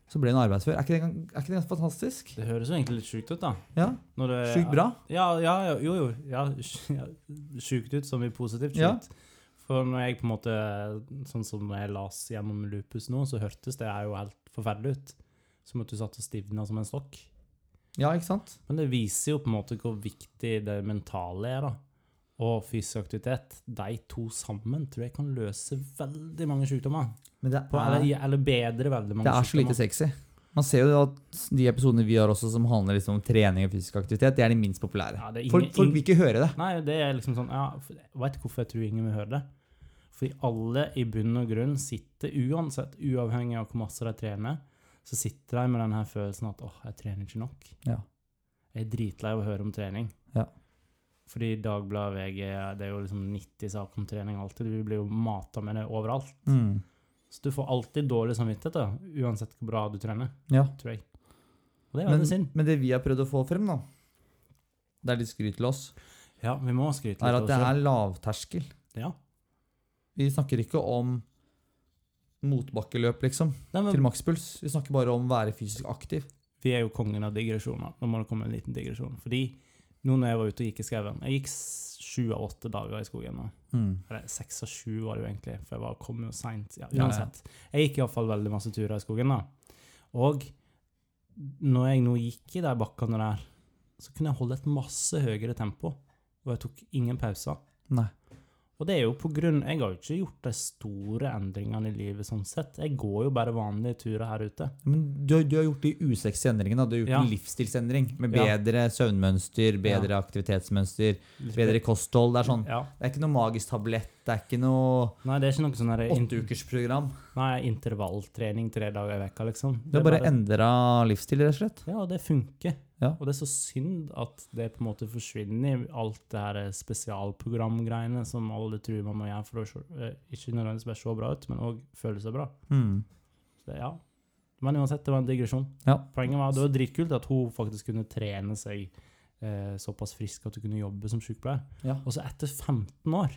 Speaker 1: Så ble hun arbeidsfør. Er ikke det, gan- er ikke det ganske fantastisk?
Speaker 2: Det høres jo egentlig litt sjukt ut, da.
Speaker 1: Ja,
Speaker 2: Når det-
Speaker 1: Sjukt bra.
Speaker 2: Ja, ja, ja, jo, jo. Ja, sj- ja, sjukt ut som i positivt sjukt.
Speaker 1: Ja.
Speaker 2: For når jeg på en måte, sånn som jeg las gjennom lupus nå, så hørtes det her jo helt forferdelig ut. Som at du satt og stivna som en stokk.
Speaker 1: Ja, ikke sant?
Speaker 2: Men det viser jo på en måte hvor viktig det mentale er, da. Og fysisk aktivitet. De to sammen tror jeg kan løse veldig mange sykdommer.
Speaker 1: Men det
Speaker 2: På,
Speaker 1: er,
Speaker 2: eller, eller bedre veldig mange
Speaker 1: det er så lite
Speaker 2: sykdommer.
Speaker 1: sexy. Man ser jo at de episodene vi har også som handler liksom om trening og fysisk aktivitet, det er de minst populære.
Speaker 2: Ja, det er ingen-
Speaker 1: folk, folk
Speaker 2: ingen-
Speaker 1: vil ikke høre det.
Speaker 2: Nei, det er liksom sånn ja, for Jeg vet ikke hvorfor jeg tror ingen vil høre det. Fordi alle i bunn og grunn sitter uansett, uavhengig av hvor masse de trener, så sitter de med denne følelsen at åh, jeg trener ikke nok.
Speaker 1: Ja.
Speaker 2: Jeg er dritlei av å høre om trening.
Speaker 1: Ja.
Speaker 2: Fordi Dagbladet, VG, det er jo liksom 90 saker om trening alltid. Du blir jo mata med det overalt.
Speaker 1: Mm.
Speaker 2: Så du får alltid dårlig samvittighet, da, uansett hvor bra du trener,
Speaker 1: ja.
Speaker 2: tror jeg. Og det er
Speaker 1: Men,
Speaker 2: veldig synd.
Speaker 1: men det vi har prøvd å få frem, da, det er litt skryt til oss,
Speaker 2: Ja, vi må skryte
Speaker 1: er
Speaker 2: litt
Speaker 1: at det
Speaker 2: av oss
Speaker 1: er lavterskel.
Speaker 2: selv. Ja.
Speaker 1: Vi snakker ikke om motbakkeløp, liksom,
Speaker 2: Nei, men
Speaker 1: til makspuls. Vi snakker bare om å være fysisk aktiv.
Speaker 2: Vi er jo kongen av digresjoner. Nå må det komme en liten digresjon. Fordi Nå når jeg var ute og gikk i skauen Jeg gikk s- sju av åtte dager i skogen nå.
Speaker 1: Mm.
Speaker 2: Eller seks av sju var det jo egentlig, for jeg var, kom jo seint. Ja,
Speaker 1: Ja, ja.
Speaker 2: uansett. Jeg gikk iallfall veldig masse turer i skogen, da. Og når jeg nå gikk i de bakkene der, så kunne jeg holde et masse høyere tempo. Og jeg tok ingen pauser.
Speaker 1: Nei.
Speaker 2: Og det er jo på grunn Jeg har jo ikke gjort de store endringene i livet sånn sett. Jeg går jo bare vanlige turer her ute.
Speaker 1: Men du, har- du har gjort de usexy endringene. da. Du har gjort
Speaker 2: Ja.
Speaker 1: en livsstilsendring med
Speaker 2: Ja.
Speaker 1: bedre søvnmønster, bedre aktivitetsmønster,
Speaker 2: Litt-
Speaker 1: bedre kosthold. Det er sånn.
Speaker 2: Ja.
Speaker 1: Det er ikke noe magisk tablett. Det er ikke noe
Speaker 2: Nei, det er ikke noe sånn der in
Speaker 1: åtteukersprogram.
Speaker 2: nei, intervalltrening tre dager i veka, liksom.
Speaker 1: Du har bare endra livsstil, rett og slett.
Speaker 2: Ja, og det funker.
Speaker 1: Ja.
Speaker 2: Og det er så synd at det på en måte forsvinner i alt det her spesialprogramgreiene som alle tror man må gjøre for å se, eh, ikke nødvendigvis bare se bra ut, men òg føle seg bra.
Speaker 1: Mm.
Speaker 2: Så det, ja. Men uansett, det var en digresjon.
Speaker 1: Ja.
Speaker 2: Poenget var det var dritkult at hun faktisk kunne trene seg eh, såpass frisk at hun kunne jobbe som sykepleier.
Speaker 1: Ja.
Speaker 2: Og så etter 15 år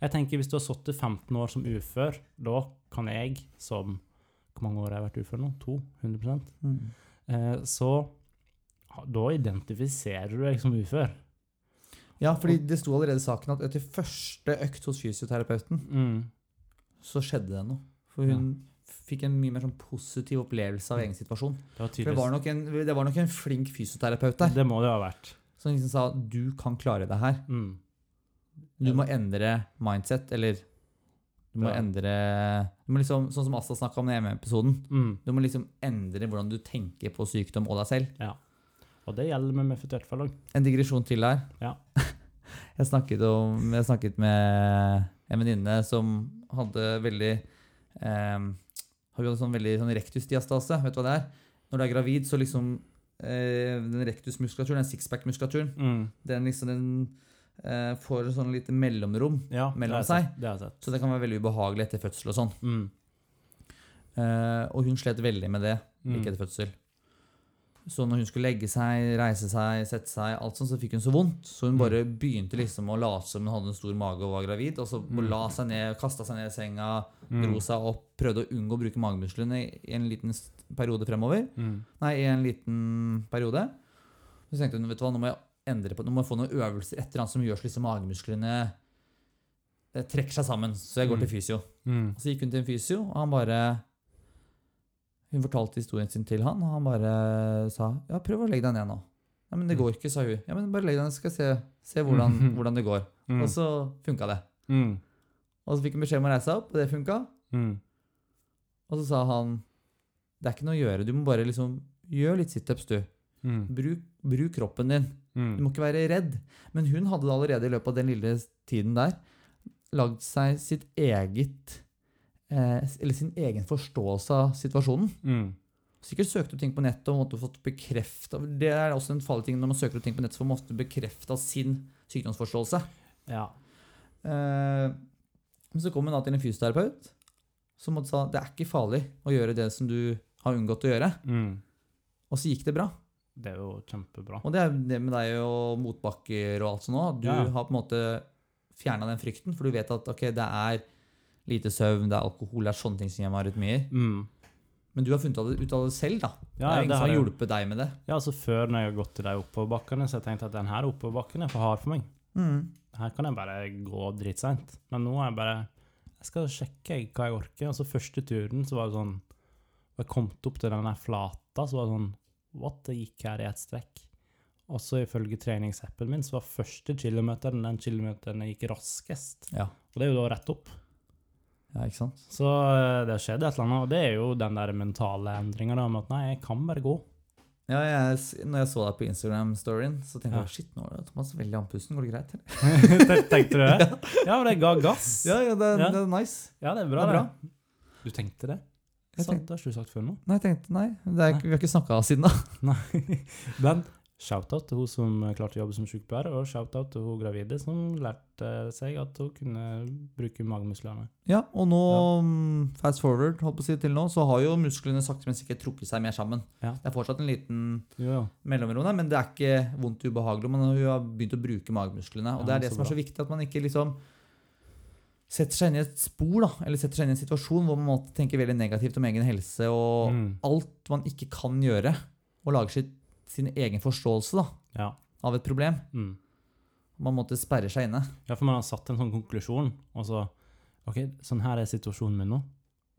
Speaker 2: Jeg tenker Hvis du har sittet 15 år som ufør, da kan jeg som Hvor mange år har jeg vært ufør nå? To? 100
Speaker 1: Mm.
Speaker 2: Eh, så ha- da identifiserer du deg som ufør.
Speaker 1: ja, fordi det sto allerede i saken at etter første økt hos fysioterapeuten,
Speaker 2: Mm.
Speaker 1: så skjedde det noe. For hun fikk en mye mer sånn positiv opplevelse av egen situasjon.
Speaker 2: Det var
Speaker 1: For det var,
Speaker 2: tydeligvis
Speaker 1: nok en, det var nok en flink fysioterapeut
Speaker 2: det,
Speaker 1: der
Speaker 2: må det ha vært.
Speaker 1: som liksom sa du kan klare det her.
Speaker 2: Mm.
Speaker 1: Du må endre mindset, eller du må
Speaker 2: Ja.
Speaker 1: endre du må liksom, Sånn som Asta snakka om i hjemme-episoden.
Speaker 2: Mm.
Speaker 1: Du må liksom endre hvordan du tenker på sykdom og deg selv.
Speaker 2: Og det gjelder med mefetørtfall òg.
Speaker 1: En digresjon til der.
Speaker 2: Ja.
Speaker 1: Jeg snakket, om, jeg snakket med en venninne som hadde veldig eh, Hadde sånn veldig sånn rektusdiastase. Vet du hva det er? Når du er gravid, så liksom eh, Den rektusmuskulaturen, den sixpack-muskulaturen,
Speaker 2: Mm.
Speaker 1: den liksom den eh, får et sånn lite mellomrom.
Speaker 2: Ja,
Speaker 1: Mellom
Speaker 2: det har jeg
Speaker 1: seg.
Speaker 2: sett, Det har jeg sett.
Speaker 1: Så det kan være veldig ubehagelig etter fødsel og sånn.
Speaker 2: Mm.
Speaker 1: Eh, og hun slet veldig med det
Speaker 2: Mm.
Speaker 1: like etter fødsel. Så når hun skulle legge seg, reise seg, sette seg, alt sånt, så fikk hun så vondt. Så
Speaker 2: Mm.
Speaker 1: hun bare begynte liksom å late som hun hadde en stor mage og var gravid. Og så
Speaker 2: Mm.
Speaker 1: la seg ned, kasta seg ned i senga,
Speaker 2: Mm.
Speaker 1: dro seg opp, prøvde å unngå å bruke magemusklene i en liten s- periode fremover.
Speaker 2: Mm.
Speaker 1: Nei, i en liten periode. Så tenkte hun vet du hva, nå må jeg endre på, nå må jeg få noen øvelser et eller annet som gjør så liksom magemusklene eh, trekker seg sammen. Så jeg går
Speaker 2: Mm.
Speaker 1: til fysio.
Speaker 2: Mm.
Speaker 1: Og så gikk hun til en fysio, og han bare Hun fortalte historien sin til han, og han bare sa ja, prøv å legge deg ned nå. Nei, men det går ikke, sa hun. Ja, men bare legg deg ned, så skal jeg se, se hvordan,
Speaker 2: Mhm.
Speaker 1: hvordan det går.
Speaker 2: Mm.
Speaker 1: Og så funka det.
Speaker 2: Mm.
Speaker 1: Og så fikk hun beskjed om å reise seg opp, og det funka.
Speaker 2: Mm.
Speaker 1: Og så sa han det er ikke noe å gjøre, du må bare liksom gjøre litt situps, du.
Speaker 2: Mm.
Speaker 1: Bruk, bruk kroppen din. Du
Speaker 2: Mm.
Speaker 1: må ikke være redd. Men hun hadde da allerede i løpet av den lille tiden der lagd seg sitt eget eh, Eller sin egen forståelse av situasjonen.
Speaker 2: Mm.
Speaker 1: Sikkert søkte du ting på nettet og måtte fått bekrefta Det er også en farlig ting når man søker ut ting på nettet, så får man ofte bekrefta sin sykdomsforståelse.
Speaker 2: Ja.
Speaker 1: Eh, men så kom hun da til en fysioterapeut som måtte sa det er ikke farlig å gjøre det som du har unngått å gjøre.
Speaker 2: Mm.
Speaker 1: Og så gikk det bra.
Speaker 2: Det er jo kjempebra.
Speaker 1: Og det er det med deg og motbakker og alt sånt òg. Du
Speaker 2: Ja.
Speaker 1: har på en måte fjerna den frykten, for du vet at ok, det er lite søvn, det er alkohol, det er sånne ting som gjør meg arytmier.
Speaker 2: Mm.
Speaker 1: Men du har funnet ut av det- ut av det selv, da. det
Speaker 2: Ja,
Speaker 1: er
Speaker 2: ja,
Speaker 1: jo ingen
Speaker 2: det
Speaker 1: som har
Speaker 2: har jeg.
Speaker 1: hjulpet deg med det.
Speaker 2: Ja, altså Før når jeg har gått til de oppoverbakkene, så har jeg tenkt at den her oppoverbakken er for hard for meg. Her kan jeg bare gå dritseint. Men nå er jeg bare Jeg skal sjekke jeg, hva jeg orker. Og så første turen så var det sånn Jeg kom opp til den der flata, så var det sånn What? Det gikk her i ett strekk. Og så ifølge treningsappen min så var første kilometeren den kilometeren jeg gikk raskest.
Speaker 1: Ja.
Speaker 2: Og det er jo da rett opp.
Speaker 1: ja, ikke sant?
Speaker 2: Så eh, det har skjedd et eller annet. Og det er jo den der mentale endringa om at nei, jeg kan bare gå.
Speaker 1: Ja, jeg, s- når jeg så deg på Instagram-storyen, så tenkte
Speaker 2: Ja.
Speaker 1: jeg shit, nå er det Thomas veldig andpusten. Går det greit? eller?
Speaker 2: Tenkte du det? Ja, men det ga gass.
Speaker 1: Ja, ja, det, er-
Speaker 2: Ja.
Speaker 1: det er nice.
Speaker 2: Ja, det er bra,
Speaker 1: Det
Speaker 2: det.
Speaker 1: er bra.
Speaker 2: Du tenkte det?
Speaker 1: Jeg
Speaker 2: Sant, det har ikke du sagt før nå.
Speaker 1: Nei, jeg tenkte nei, det er, ikke- vi har ikke snakka siden da.
Speaker 2: Men shout-out til hun som eh, klarte å jobbe som sykepleier, og shout-out til hun gravide som lærte seg at hun kunne bruke magemusklene.
Speaker 1: Ja, og nå, mm, fast forward, holdt på å si til nå, så har jo musklene sakte, men sikkert trukket seg mer sammen.
Speaker 2: Ja.
Speaker 1: Det er fortsatt en liten
Speaker 2: Jo, jo.
Speaker 1: mellomrom der, men det er ikke vondt og ubehagelig. Man har jo begynt å bruke magemusklene. Og det
Speaker 2: Ja,
Speaker 1: er det
Speaker 2: så
Speaker 1: som er
Speaker 2: bra.
Speaker 1: så viktig, at man ikke liksom setter seg inn i et spor, da, eller setter seg inn i en situasjon hvor man måtte tenke veldig negativt om egen helse og
Speaker 2: Mm.
Speaker 1: alt man ikke kan gjøre, og lager sitt, sin egen forståelse, da.
Speaker 2: Ja.
Speaker 1: av et problem.
Speaker 2: Mm.
Speaker 1: Man måtte sperre seg inne.
Speaker 2: Ja, for man har satt en sånn konklusjon, og så OK, sånn her er situasjonen min nå.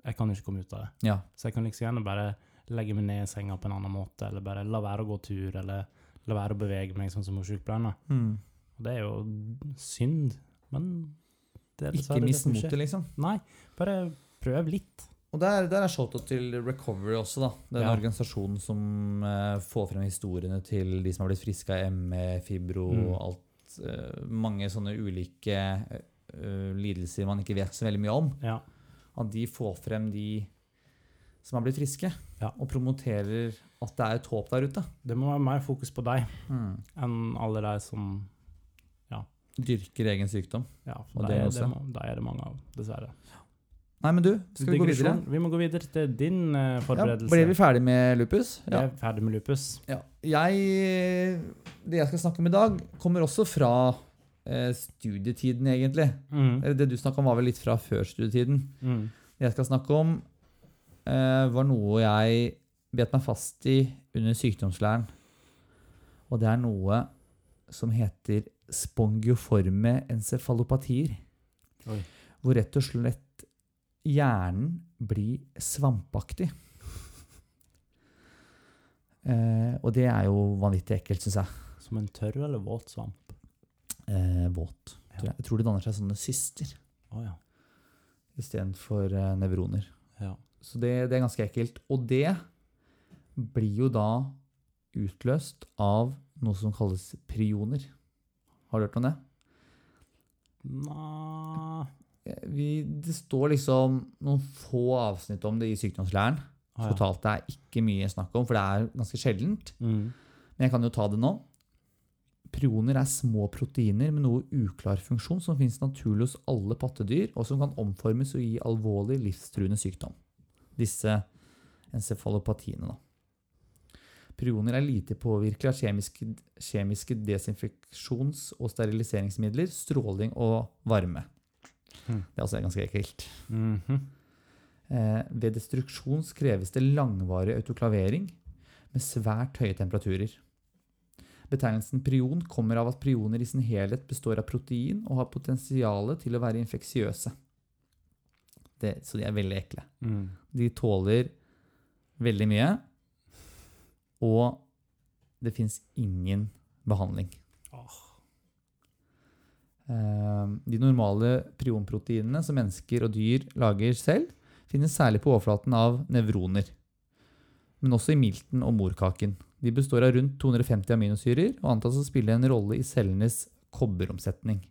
Speaker 2: Jeg kan ikke komme ut av det.
Speaker 1: Ja.
Speaker 2: Så jeg kan liksom gjerne bare legge meg ned i senga på en annen måte, eller bare la være å gå tur, eller la være å bevege meg, sånn som hos sykepleierne.
Speaker 1: Mm.
Speaker 2: Og det er jo synd, men det
Speaker 1: Ikke
Speaker 2: er dessverre det
Speaker 1: mist
Speaker 2: som
Speaker 1: motet,
Speaker 2: skjer.
Speaker 1: liksom.
Speaker 2: Nei, bare prøv litt.
Speaker 1: Og der, der er shoutout til Recovery også, da. Den
Speaker 2: Ja.
Speaker 1: organisasjonen som eh, får frem historiene til de som har blitt friske av ME, fibro og
Speaker 2: Mm.
Speaker 1: alt. eh, mange sånne ulike eh, lidelser man ikke vet så veldig mye om.
Speaker 2: Ja.
Speaker 1: At de får frem de som har blitt friske,
Speaker 2: Ja.
Speaker 1: og promoterer at det er et håp der ute.
Speaker 2: Det må være mer fokus på deg
Speaker 1: Hmm.
Speaker 2: enn alle de som
Speaker 1: Dyrker egen sykdom.
Speaker 2: Ja,
Speaker 1: Og
Speaker 2: for
Speaker 1: det
Speaker 2: de er,
Speaker 1: også.
Speaker 2: det, ma- de er det mange av, dessverre.
Speaker 1: Nei, men du, skal vi gå videre?
Speaker 2: Digresjon. Vi må gå videre til din eh,
Speaker 1: Ja,
Speaker 2: forberedelse.
Speaker 1: ble vi ferdig med lupus?
Speaker 2: Jeg er ferdig med lupus.
Speaker 1: Ja, jeg, eh, det jeg skal snakke om i dag, kommer også fra eh, studietiden, egentlig.
Speaker 2: Mm.
Speaker 1: Eller Det du snakka om, var vel litt fra før studietiden.
Speaker 2: Mm.
Speaker 1: Det jeg skal snakke om, eh, var noe jeg bet meg fast i under sykdomslæren. Og det er noe som heter spongioforme encefalopatier.
Speaker 2: Oi.
Speaker 1: Hvor rett og slett hjernen blir svampaktig. Eh, og det er jo vanvittig ekkelt, syns jeg.
Speaker 2: Som en tørr eller våt svamp.
Speaker 1: Eh, våt.
Speaker 2: Ja.
Speaker 1: Tror jeg. jeg tror det danner seg sånne syster
Speaker 2: Å ja.
Speaker 1: istedenfor eh, nevroner.
Speaker 2: ja.
Speaker 1: Så det, det er ganske ekkelt. Og det blir jo da utløst av noe som kalles prioner. Har du hørt om det?
Speaker 2: Nei
Speaker 1: Eh, Vi, det står liksom noen få avsnitt om det i sykdomslæren.
Speaker 2: Å ja.
Speaker 1: Totalt det er ikke mye snakk om, for det er ganske sjeldent.
Speaker 2: Mm.
Speaker 1: Men jeg kan jo ta det nå. Prioner er små proteiner med noe uklar funksjon som finnes naturlig hos alle pattedyr, og som kan omformes og gi alvorlig livstruende sykdom. Disse encefalopatiene, da. Prioner er lite påvirkelig av kjemiske, kjemiske desinfeksjons- og steriliseringsmidler, stråling og varme.
Speaker 2: Hmm.
Speaker 1: Det er altså ganske ekkelt.
Speaker 2: Mhm.
Speaker 1: Eh, ved destruksjon kreves det langvarig autoklavering med svært høye temperaturer. Betegnelsen prion kommer av at prioner i sin helhet består av protein og har potensial til å være infeksiøse. Det, så de er veldig ekle.
Speaker 2: mm.
Speaker 1: De tåler veldig mye, og det fins ingen behandling. Eh, De normale prionproteinene som mennesker og dyr lager selv, finnes særlig på overflaten av nevroner, men også i milten og morkaken. De består av rundt 250 aminosyrer og antas å spille en rolle i cellenes kobberomsetning.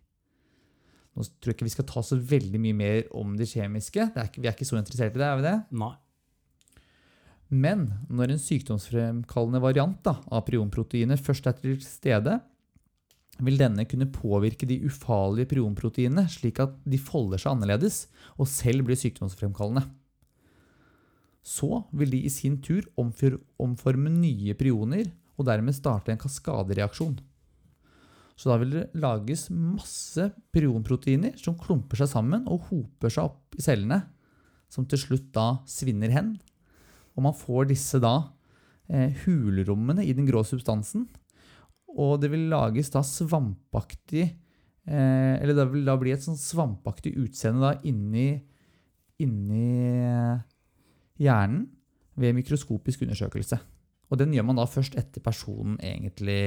Speaker 1: Nå tror jeg ikke vi skal ta så veldig mye mer om det kjemiske. Det er ikke, vi er ikke så interessert i det, er vi det?
Speaker 2: Nei.
Speaker 1: Men når en sykdomsfremkallende variant da, av prionproteinet først er til stede, vil denne kunne påvirke de ufarlige prionproteinene slik at de folder seg annerledes og selv blir sykdomsfremkallende. Så vil de i sin tur omfor- omforme nye prioner og dermed starte en kaskadereaksjon. Så da vil det lages masse prionproteiner som klumper seg sammen og hoper seg opp i cellene, som til slutt da svinner hen og man får disse da eh, hulrommene i den grå substansen. Og det vil lages da svampaktig eh, Eller det vil da bli et sånn svampaktig utseende da inni, inni eh, hjernen ved mikroskopisk undersøkelse. Og den gjør man da først etter personen egentlig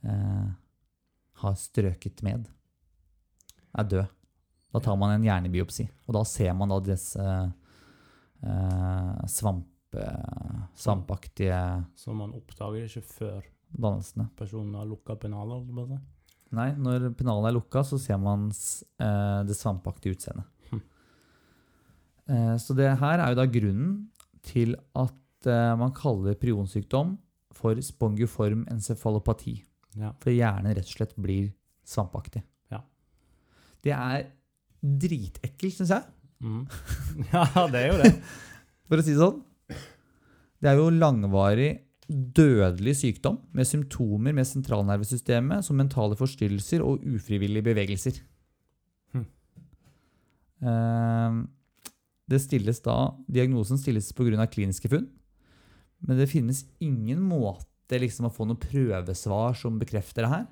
Speaker 1: eh, har strøket med. Er død. Da tar man en hjernebiopsi, og da ser man da disse eh, svamp, eh, svampaktige
Speaker 2: Så man oppdager ikke før
Speaker 1: dannelsene.
Speaker 2: personen har lukka pennaler. holdt jeg på å si.
Speaker 1: Nei, når pennalet er lukka, så ser man s- eh, det svampaktige utseendet.
Speaker 2: Hm.
Speaker 1: Eh, så det her er jo da grunnen til at eh, man kaller prionsykdom for spongiform encefalopati.
Speaker 2: Ja.
Speaker 1: Fordi hjernen rett og slett blir svampaktig.
Speaker 2: Ja.
Speaker 1: Det er dritekkelt, syns jeg,
Speaker 2: Mm. ja, det er jo det.
Speaker 1: for å si det sånn. Det er jo langvarig, dødelig sykdom med symptomer med sentralnervesystemet som mentale forstyrrelser og ufrivillige bevegelser.
Speaker 2: Hm.
Speaker 1: Eh, Det stilles da, diagnosen stilles pga. kliniske funn, men det finnes ingen måte vente liksom å få noen prøvesvar som bekrefter det her.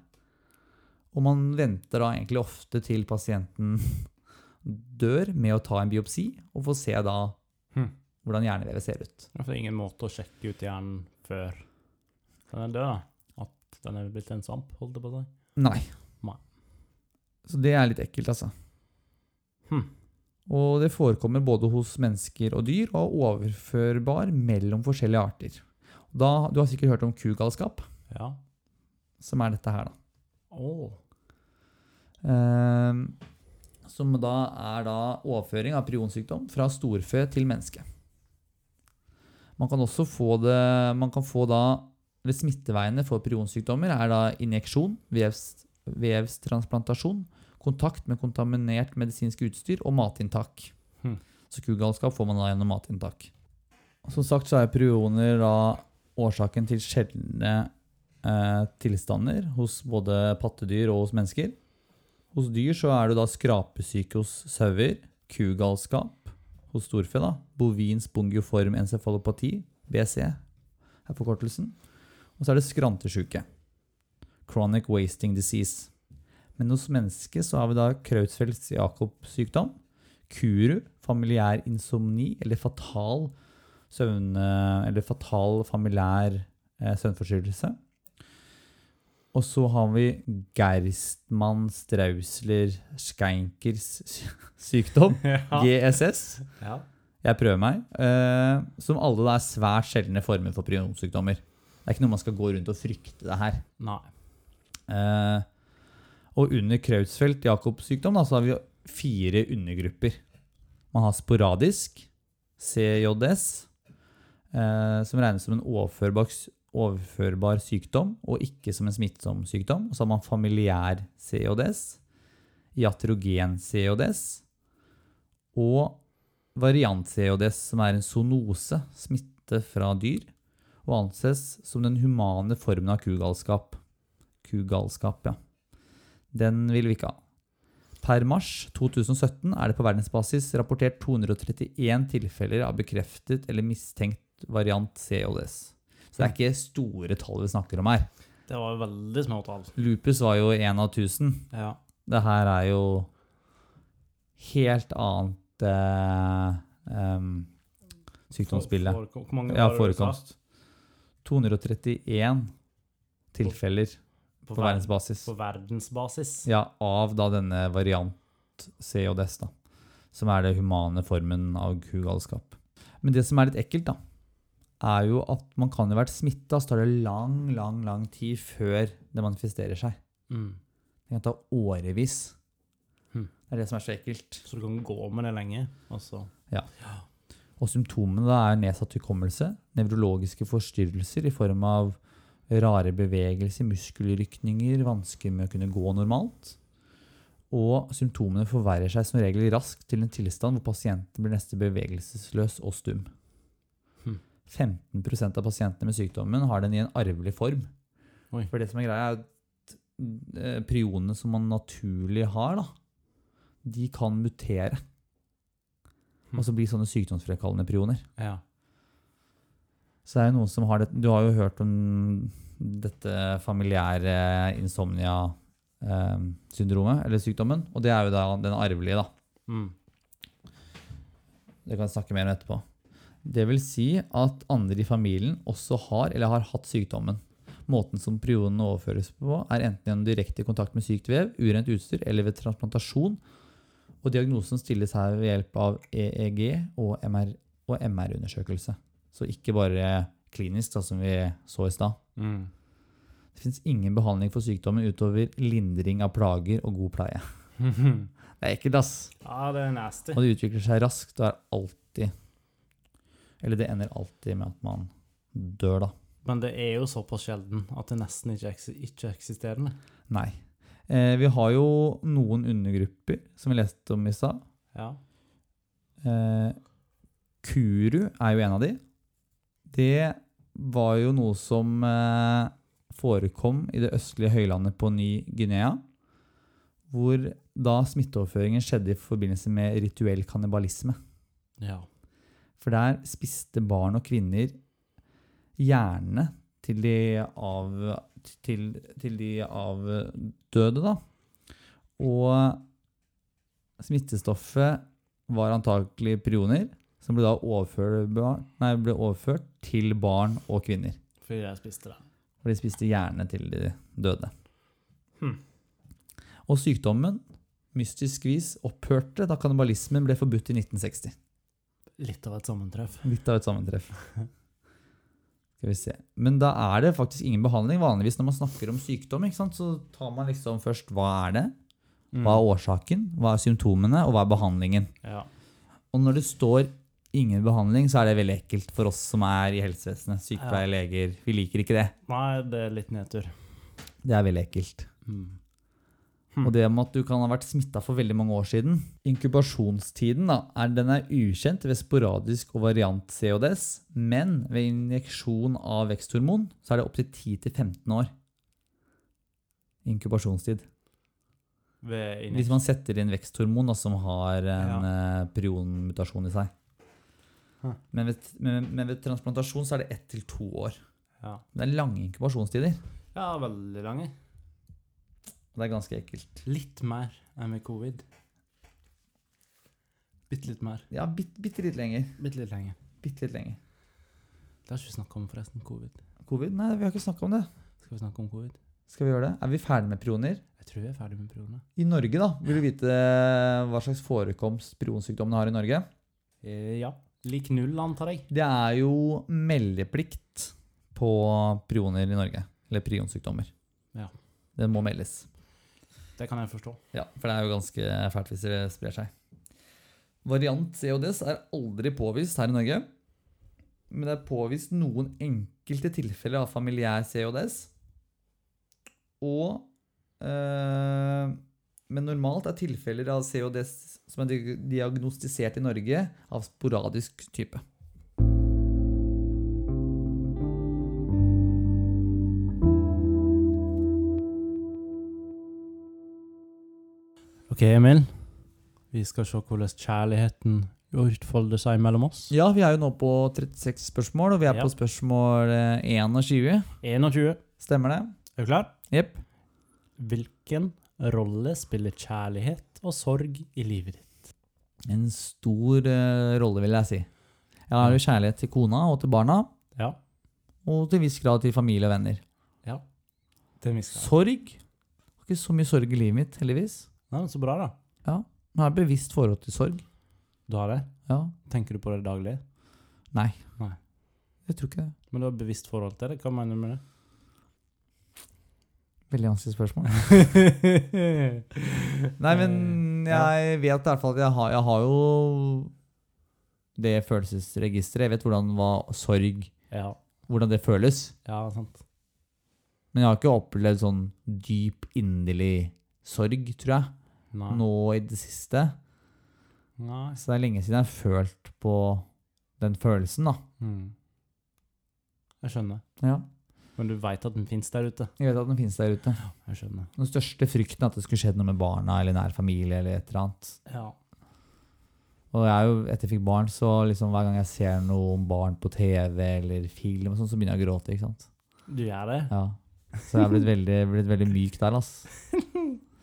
Speaker 1: Og man venter da egentlig ofte til pasienten dør med å ta en biopsi, og får se da
Speaker 2: Hmm.
Speaker 1: hvordan hjernevevet ser ut.
Speaker 2: Ja, For det er ingen måte å sjekke ut hjernen før den er død, da. At den er blitt en svamp, holdt jeg på å si.
Speaker 1: Nei.
Speaker 2: Nei.
Speaker 1: Så det er litt ekkelt, altså. Hm.
Speaker 2: Hmm.
Speaker 1: Og det forekommer både hos mennesker og dyr, og er overførbar mellom forskjellige arter. Da, du har sikkert hørt om kugalskap,
Speaker 2: Ja.
Speaker 1: som er dette her, da.
Speaker 2: Åh.
Speaker 1: Eh, som da er da overføring av prionsykdom fra storfe til menneske. Man kan også få det Man kan få da eller Smitteveiene for prionsykdommer er da injeksjon, vevs, vevstransplantasjon, kontakt med kontaminert medisinsk utstyr og matinntak.
Speaker 2: Hmm.
Speaker 1: Så kugalskap får man da gjennom matinntak. Som sagt så er prioner da årsaken til sjeldne eh, tilstander hos både pattedyr og hos mennesker. Hos dyr så er det da skrapesyke hos sauer, kugalskap hos storfe, da, bovin spongiform encefalopati, BC, er forkortelsen. Og så er det skrantesjuke, chronic wasting disease. Men hos mennesket så har vi da Creutzfeldts Jakob-sykdom, kuru, familiær insomni, eller fatal søvn... Eller fatal familiær eh, søvnforstyrrelse. Og så har vi Gerstmann Strausler Skeinkers sykdom,
Speaker 2: Ja.
Speaker 1: GSS.
Speaker 2: ja.
Speaker 1: Jeg prøver meg. eh, som alle da er svært sjeldne former for prionsykdommer. Det er ikke noe man skal gå rundt og frykte det her.
Speaker 2: Nei.
Speaker 1: Eh, og under Kreutzfeldt Jacobs sykdom da, så har vi jo fire undergrupper. Man har sporadisk, CJS, eh, som regnes som en overførbar, overførbar sykdom, og ikke som en smittsom sykdom. Og så har man familiær CJS, iatrogen CJS, og variant CJS, som er en zoonose, smitte fra dyr, og anses som den humane formen av kugalskap kugalskap, ja. Den vil vi ikke ha. Per mars 2017 er det på verdensbasis rapportert 231 tilfeller av bekreftet eller mistenkt variant CODS. Så det er ikke store tall vi snakker om her.
Speaker 2: Det var veldig små tall.
Speaker 1: Lupus var jo én av 1000.
Speaker 2: Ja.
Speaker 1: Det her er jo helt annet eh, em, sykdomsbilde.
Speaker 2: Forekom- Hvor mange
Speaker 1: Ja,
Speaker 2: var det du
Speaker 1: forekomst.
Speaker 2: sa?
Speaker 1: 231 tilfeller på
Speaker 2: På, ver-
Speaker 1: verdensbasis.
Speaker 2: På verdensbasis.
Speaker 1: Ja, av da denne variant CODS, da. Som er det humane formen av kugalskap. Men det som er litt ekkelt, da, er jo at man kan jo ha vært smitta, så tar det lang, lang, lang tid før det manifesterer seg.
Speaker 2: Mm.
Speaker 1: Det kan ta årevis.
Speaker 2: Hmm.
Speaker 1: Det er det som er så ekkelt.
Speaker 2: Så du kan gå med det lenge. Altså.
Speaker 1: Og symptomene da er nedsatt hukommelse, nevrologiske forstyrrelser i form av rare bevegelser, muskelrykninger, vansker med å kunne gå normalt. Og symptomene forverrer seg som regel raskt til en tilstand hvor pasienten blir nesten bevegelsesløs og stum.
Speaker 2: Hmm.
Speaker 1: 15 av pasientene med sykdommen har den i en arvelig form.
Speaker 2: Oi.
Speaker 1: For det som er greia, er at eh, prionene som man naturlig har, da, de kan mutere.
Speaker 2: Hmm.
Speaker 1: Og så blir sånne sykdomsfrekallende prioner.
Speaker 2: Ja.
Speaker 1: Så det er jo noen som har det. Du har jo hørt om dette familiære insomnia-syndromet, eller sykdommen, og det er jo da den arvelige, da.
Speaker 2: Mm.
Speaker 1: Det kan jeg snakke mer om etterpå. Det vil si at andre i familien også har eller har hatt sykdommen. Måten som prionene overføres på, er enten gjennom direkte kontakt med sykt vev, urent utstyr eller ved transplantasjon. Og diagnosen stilles her ved hjelp av EEG og MR- og MR-undersøkelse. Så ikke bare klinisk, da, som vi så i stad.
Speaker 2: Mm.
Speaker 1: Det fins ingen behandling for sykdommen utover lindring av plager og god pleie.
Speaker 2: Mm.
Speaker 1: Det er ekkelt, ass.
Speaker 2: ja, det er nasty.
Speaker 1: Og det utvikler seg raskt og er alltid Eller det ender alltid med at man dør, da.
Speaker 2: Men det er jo såpass sjelden at det nesten ikke er ikke-eksisterende.
Speaker 1: Nei. Eh, vi har jo noen undergrupper, som vi leste om i stad.
Speaker 2: Ja.
Speaker 1: Eh, Kuru er jo en av de. Det var jo noe som eh, forekom i det østlige høylandet på Ny-Guinea, hvor da smitteoverføringen skjedde i forbindelse med rituell kannibalisme.
Speaker 2: ja.
Speaker 1: For der spiste barn og kvinner hjernene til de, av, til, til de avdøde, da. Og smittestoffet var antakelig prioner, som ble da overført, barn, nei, ble overført til barn og kvinner.
Speaker 2: Fordi jeg spiste det.
Speaker 1: Og de spiste hjerne til de døde.
Speaker 2: Hmm.
Speaker 1: Og sykdommen, mystisk vis, opphørte da kannibalismen ble forbudt i 1960.
Speaker 2: Litt av et sammentreff.
Speaker 1: Litt av et sammentreff. Skal vi se. Men da er det faktisk ingen behandling. Vanligvis når man snakker om sykdom, ikke sant, så tar man liksom først hva er det, hva er årsaken, hva er symptomene, og hva er behandlingen.
Speaker 2: Mm. Ja.
Speaker 1: Og når det står ingen behandling, så er det veldig ekkelt for oss som er i helsevesenet. Sykepleier, leger. Vi liker ikke det.
Speaker 2: Nei, det er litt nedtur.
Speaker 1: Det er veldig ekkelt.
Speaker 2: Mm.
Speaker 1: Og det med at du kan ha vært smitta for veldig mange år siden. Inkubasjonstiden da, er, den er ukjent ved sporadisk og variant CODS, men ved injeksjon av veksthormon så er det opptil 10-15 år. Inkubasjonstid.
Speaker 2: Ved inni-
Speaker 1: Hvis man setter inn veksthormon da, som har en eh, prionmutasjon i seg.
Speaker 2: Hæ.
Speaker 1: Men ved, men, men ved transplantasjon så er det 1-2 år.
Speaker 2: ja.
Speaker 1: Det er lange inkubasjonstider.
Speaker 2: ja, veldig lange.
Speaker 1: og Det er ganske ekkelt.
Speaker 2: Litt mer enn med covid. Bitte litt mer.
Speaker 1: Ja, bitte, bitte litt lenger.
Speaker 2: Bitte litt lenger.
Speaker 1: Bitte litt lenger.
Speaker 2: Det har ikke vi snakka om, forresten. Covid.
Speaker 1: Covid? Nei, vi har ikke snakka om det.
Speaker 2: Skal vi snakke om covid?
Speaker 1: Skal vi gjøre det? Er vi ferdige med prioner?
Speaker 2: Jeg tror vi er ferdig med prøvene.
Speaker 1: I Norge, da, vil du vite eh, hva slags forekomst prionsykdommene har i Norge?
Speaker 2: Eh, ja. Lik null, antar jeg.
Speaker 1: Det er jo meldeplikt på prioner i Norge. Eller prionsykdommer.
Speaker 2: Ja.
Speaker 1: Det må meldes.
Speaker 2: Det kan jeg forstå.
Speaker 1: Ja, For det er jo ganske fælt hvis det sprer seg. Variant CODS er aldri påvist her i Norge. Men det er påvist noen enkelte tilfeller av familiær CODS. Og eh, Men normalt er tilfeller av CODS som er di- diagnostisert i Norge, av sporadisk type.
Speaker 2: OK, Emil. Vi skal se hvordan kjærligheten utfolder seg mellom oss.
Speaker 1: Ja, vi er jo nå på 36 spørsmål, og vi er
Speaker 2: Ja.
Speaker 1: på spørsmål eh, 21.
Speaker 2: 21.
Speaker 1: Stemmer det?
Speaker 2: Er du klar?
Speaker 1: Jepp.
Speaker 2: Hvilken rolle spiller kjærlighet og sorg i livet ditt?
Speaker 1: En stor eh, rolle, vil jeg si. Jeg har jo kjærlighet til kona og til barna,
Speaker 2: Ja.
Speaker 1: og til en viss grad til familie og venner.
Speaker 2: Ja. Det mister jeg.
Speaker 1: Sorg? Jeg har ikke så mye sorg i livet mitt, heldigvis.
Speaker 2: Nei, men Så bra, da.
Speaker 1: Men jeg har et bevisst forhold til sorg.
Speaker 2: Du har det?
Speaker 1: Ja.
Speaker 2: Tenker du på det daglig?
Speaker 1: Nei.
Speaker 2: Nei.
Speaker 1: Jeg tror ikke det.
Speaker 2: Men du har et bevisst forhold til det? Hva mener du med det?
Speaker 1: Veldig vanskelig spørsmål. Nei, men jeg vet i hvert fall at jeg har, jeg har jo det følelsesregisteret. Jeg vet hvordan hva sorg
Speaker 2: Eh, ja.
Speaker 1: Hvordan det føles.
Speaker 2: ja, sant.
Speaker 1: Men jeg har ikke opplevd sånn dyp, inderlig sorg, tror jeg,
Speaker 2: Nei.
Speaker 1: nå i det siste.
Speaker 2: Nei.
Speaker 1: Så det er lenge siden jeg har følt på den følelsen, da.
Speaker 2: Mm. Jeg skjønner.
Speaker 1: Ja.
Speaker 2: Men du veit at den fins der ute?
Speaker 1: Jeg vet at den finnes der ute.
Speaker 2: Jeg skjønner.
Speaker 1: Den største frykten er at det skulle skjedd noe med barna eller nær familie eller et eller annet.
Speaker 2: Ja.
Speaker 1: Og jeg er jo, etter jeg fikk barn, så liksom hver gang jeg ser noe om barn på TV eller film, og sånn, så begynner jeg å gråte. ikke sant?
Speaker 2: Du gjør det?
Speaker 1: Ja. Så jeg har blitt veldig, blitt veldig myk der, ass.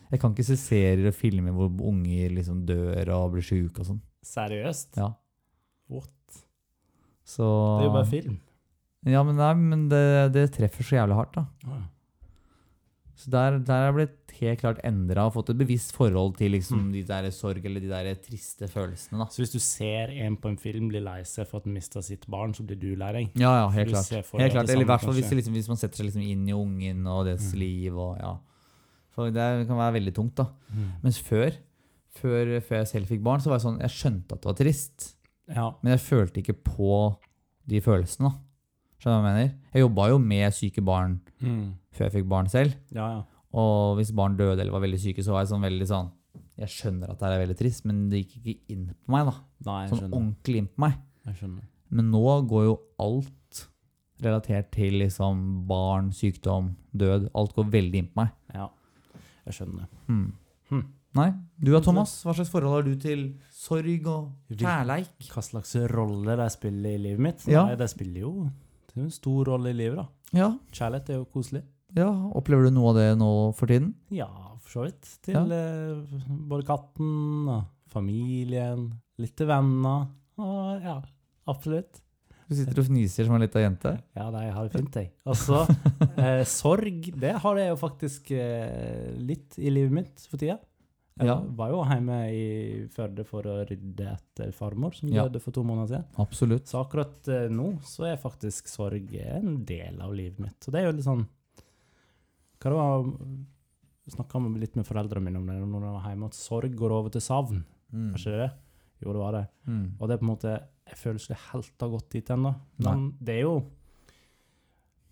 Speaker 1: Jeg kan ikke se serier og filmer hvor unger liksom dør og blir sjuke og sånn.
Speaker 2: Seriøst?
Speaker 1: Ja.
Speaker 2: What?
Speaker 1: Så
Speaker 2: Det er jo bare film.
Speaker 1: Ja, men, nei, men det, det treffer så jævlig hardt, da. Så der, der er jeg blitt helt klart endra og fått et bevisst forhold til liksom, de der sorg eller de der triste følelsene. da.
Speaker 2: Så hvis du ser en på en film bli lei seg for at den mista sitt barn, så blir du lei deg?
Speaker 1: Ja, ja, helt
Speaker 2: Du
Speaker 1: klart.
Speaker 2: ser for deg
Speaker 1: Helt
Speaker 2: at
Speaker 1: klart.
Speaker 2: det
Speaker 1: Eller i
Speaker 2: samme
Speaker 1: hvert fall
Speaker 2: kan
Speaker 1: hvis, det liksom, hvis man setter seg Mm. liksom inn i ungen og dets liv. og ja. For det kan være veldig tungt. da.
Speaker 2: Hmm.
Speaker 1: Mens før, før, før jeg selv fikk barn, så var jeg sånn, jeg skjønte at det var trist,
Speaker 2: Ja.
Speaker 1: men jeg følte ikke på de følelsene. da. Skjønner du hva jeg mener? Jeg jobba jo med syke barn før jeg fikk barn selv.
Speaker 2: Ja, ja.
Speaker 1: Og hvis barn døde eller var veldig syke, så var jeg sånn veldig sånn Jeg skjønner at det er veldig trist, men det gikk ikke inn på meg. da.
Speaker 2: Nei, jeg
Speaker 1: Sånn
Speaker 2: skjønner.
Speaker 1: ordentlig inn på meg.
Speaker 2: Jeg skjønner.
Speaker 1: Men nå går jo alt relatert til liksom barn, sykdom, død. Alt går veldig inn på meg.
Speaker 2: Ja. Jeg skjønner.
Speaker 1: Hmm.
Speaker 2: Hmm.
Speaker 1: Nei. Du da, Thomas? Hva slags forhold har du til sorg og
Speaker 2: Vil-
Speaker 1: kjærleik?
Speaker 2: Hva slags rolle de spiller i livet mitt?
Speaker 1: Ja.
Speaker 2: Nei, de spiller jo Det er jo en stor rolle i livet, da.
Speaker 1: Ja,
Speaker 2: Kjærlighet er jo koselig.
Speaker 1: ja. Opplever du noe av det nå for tiden?
Speaker 2: Ja, for så vidt. Til
Speaker 1: Ja.
Speaker 2: eh, både katten og familien, litt til venner. Og ja, absolutt.
Speaker 1: Du sitter og fniser som en lita jente.
Speaker 2: Ja, nei, jeg har det fint, jeg. Altså, eh, sorg, det har jeg jo faktisk eh, litt i livet mitt for tida. Jeg
Speaker 1: Ja.
Speaker 2: var jo hjemme i Førde for å rydde etter farmor, som
Speaker 1: Ja.
Speaker 2: døde for to måneder siden.
Speaker 1: Absolutt.
Speaker 2: Så akkurat eh, nå så er faktisk sorg en del av livet mitt. Og det er jo litt sånn Hva det var Snakka litt med foreldrene mine om det når de var hjemme, at sorg går over til savn.
Speaker 1: Mm.
Speaker 2: Er ikke det det? Jo, det var det.
Speaker 1: Mm.
Speaker 2: Og det er på en måte Jeg føler ikke det helt har gått dit ennå. Men det er jo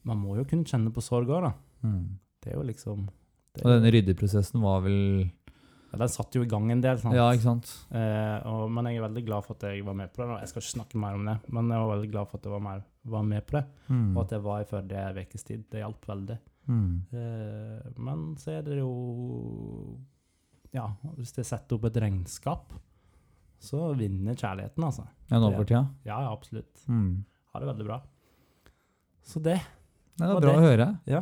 Speaker 2: Man må jo kunne kjenne på sorg òg, da.
Speaker 1: Mm.
Speaker 2: Det er jo liksom det,
Speaker 1: Og denne ryddeprosessen var vel
Speaker 2: ja, Den satte jo i gang en del, sant.
Speaker 1: Ja, ikke sant?
Speaker 2: Eh, og, men jeg er veldig glad for at jeg var med på det. Og jeg skal ikke snakke mer om det, men jeg var veldig glad for at jeg var, mer, var med på det.
Speaker 1: Mm.
Speaker 2: Og at jeg var i Førde en ukes tid. Det hjalp veldig.
Speaker 1: Mm.
Speaker 2: Eh, men så er det jo Ja, hvis jeg setter opp et regnskap, så vinner kjærligheten, altså.
Speaker 1: Ja, nå for tida?
Speaker 2: Ja, ja, absolutt.
Speaker 1: Mm.
Speaker 2: Har det veldig bra. Så det
Speaker 1: Nei, Det
Speaker 2: Og
Speaker 1: er bra
Speaker 2: det-
Speaker 1: å høre.
Speaker 2: Ja,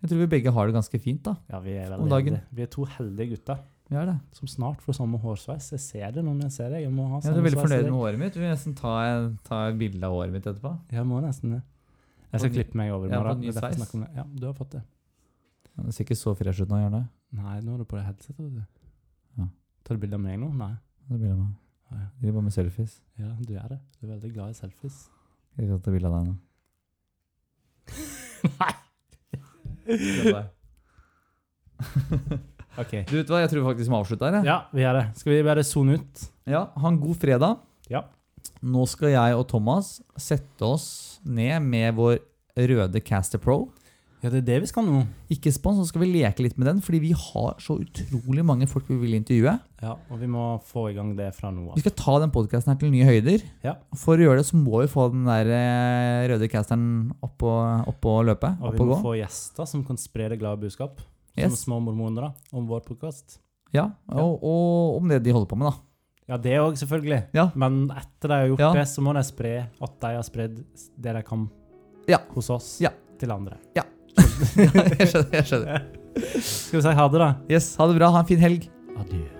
Speaker 1: Jeg tror vi begge har det ganske fint, da.
Speaker 2: ja vi er
Speaker 1: Om
Speaker 2: veldig
Speaker 1: dagen.
Speaker 2: heldige. Vi er to heldige gutter
Speaker 1: Vi er det.
Speaker 2: som snart får samme hårsveis. Jeg ser det når jeg ser det. Jeg må ha
Speaker 1: Jeg
Speaker 2: samme
Speaker 1: er veldig
Speaker 2: sveis.
Speaker 1: fornøyd med håret mitt. Vi vil nesten ta, ta et bilde av håret mitt etterpå.
Speaker 2: Jeg må nesten det. Jeg skal
Speaker 1: På ny-
Speaker 2: klippe meg over i
Speaker 1: Ja, på
Speaker 2: morgen.
Speaker 1: ny
Speaker 2: Det er derfor jeg
Speaker 1: sveis.
Speaker 2: snakker om det. Ja, du har fått det.
Speaker 1: Ja, Det ser ikke så fresh ut nå, gjør det?
Speaker 2: Nei, nå er du på det headsetet, vet du.
Speaker 1: Ja.
Speaker 2: Tar du bilde av meg nå? Nei.
Speaker 1: Det blir det med.
Speaker 2: Ja, ja.
Speaker 1: Driver bare med selfies.
Speaker 2: Ja, du er det. Du er veldig glad i selfies.
Speaker 1: Skal ikke ta bilde av deg nå.
Speaker 2: Nei!
Speaker 1: Kødder.
Speaker 2: OK.
Speaker 1: Du vet du hva, jeg tror faktisk vi må avslutte her. jeg.
Speaker 2: Ja, vi er det. Skal vi bare sone ut?
Speaker 1: Ja, ha en god fredag.
Speaker 2: Ja.
Speaker 1: Nå skal jeg og Thomas sette oss ned med vår røde Caster Pro.
Speaker 2: Ja, det er det vi skal nå.
Speaker 1: Ikke spons, så skal vi leke litt med den, fordi vi har så utrolig mange folk vi vil intervjue.
Speaker 2: Ja, og vi må få i gang det fra nå
Speaker 1: Vi
Speaker 2: av.
Speaker 1: skal ta den podkasten her til nye høyder.
Speaker 2: Ja.
Speaker 1: For å gjøre det så må vi få den der eh, røde casteren opp og, opp og løpe.
Speaker 2: Og
Speaker 1: Opp
Speaker 2: vi
Speaker 1: og
Speaker 2: må
Speaker 1: gå.
Speaker 2: få gjester som kan spre det glade budskap, som
Speaker 1: Yes.
Speaker 2: små mormonere, om vår podkast.
Speaker 1: Ja,
Speaker 2: Ja.
Speaker 1: og, og om det de holder på med, da.
Speaker 2: Ja, det òg, selvfølgelig.
Speaker 1: Ja.
Speaker 2: Men etter de har gjort
Speaker 1: Ja.
Speaker 2: det, så må de spre at de har spredd det de kan
Speaker 1: Ja.
Speaker 2: hos oss,
Speaker 1: Ja.
Speaker 2: til andre.
Speaker 1: jeg skjønner. jeg skjønner.
Speaker 2: Skal vi si ha det, da?
Speaker 1: Yes, Ha det bra. Ha en fin helg.
Speaker 2: Adjø.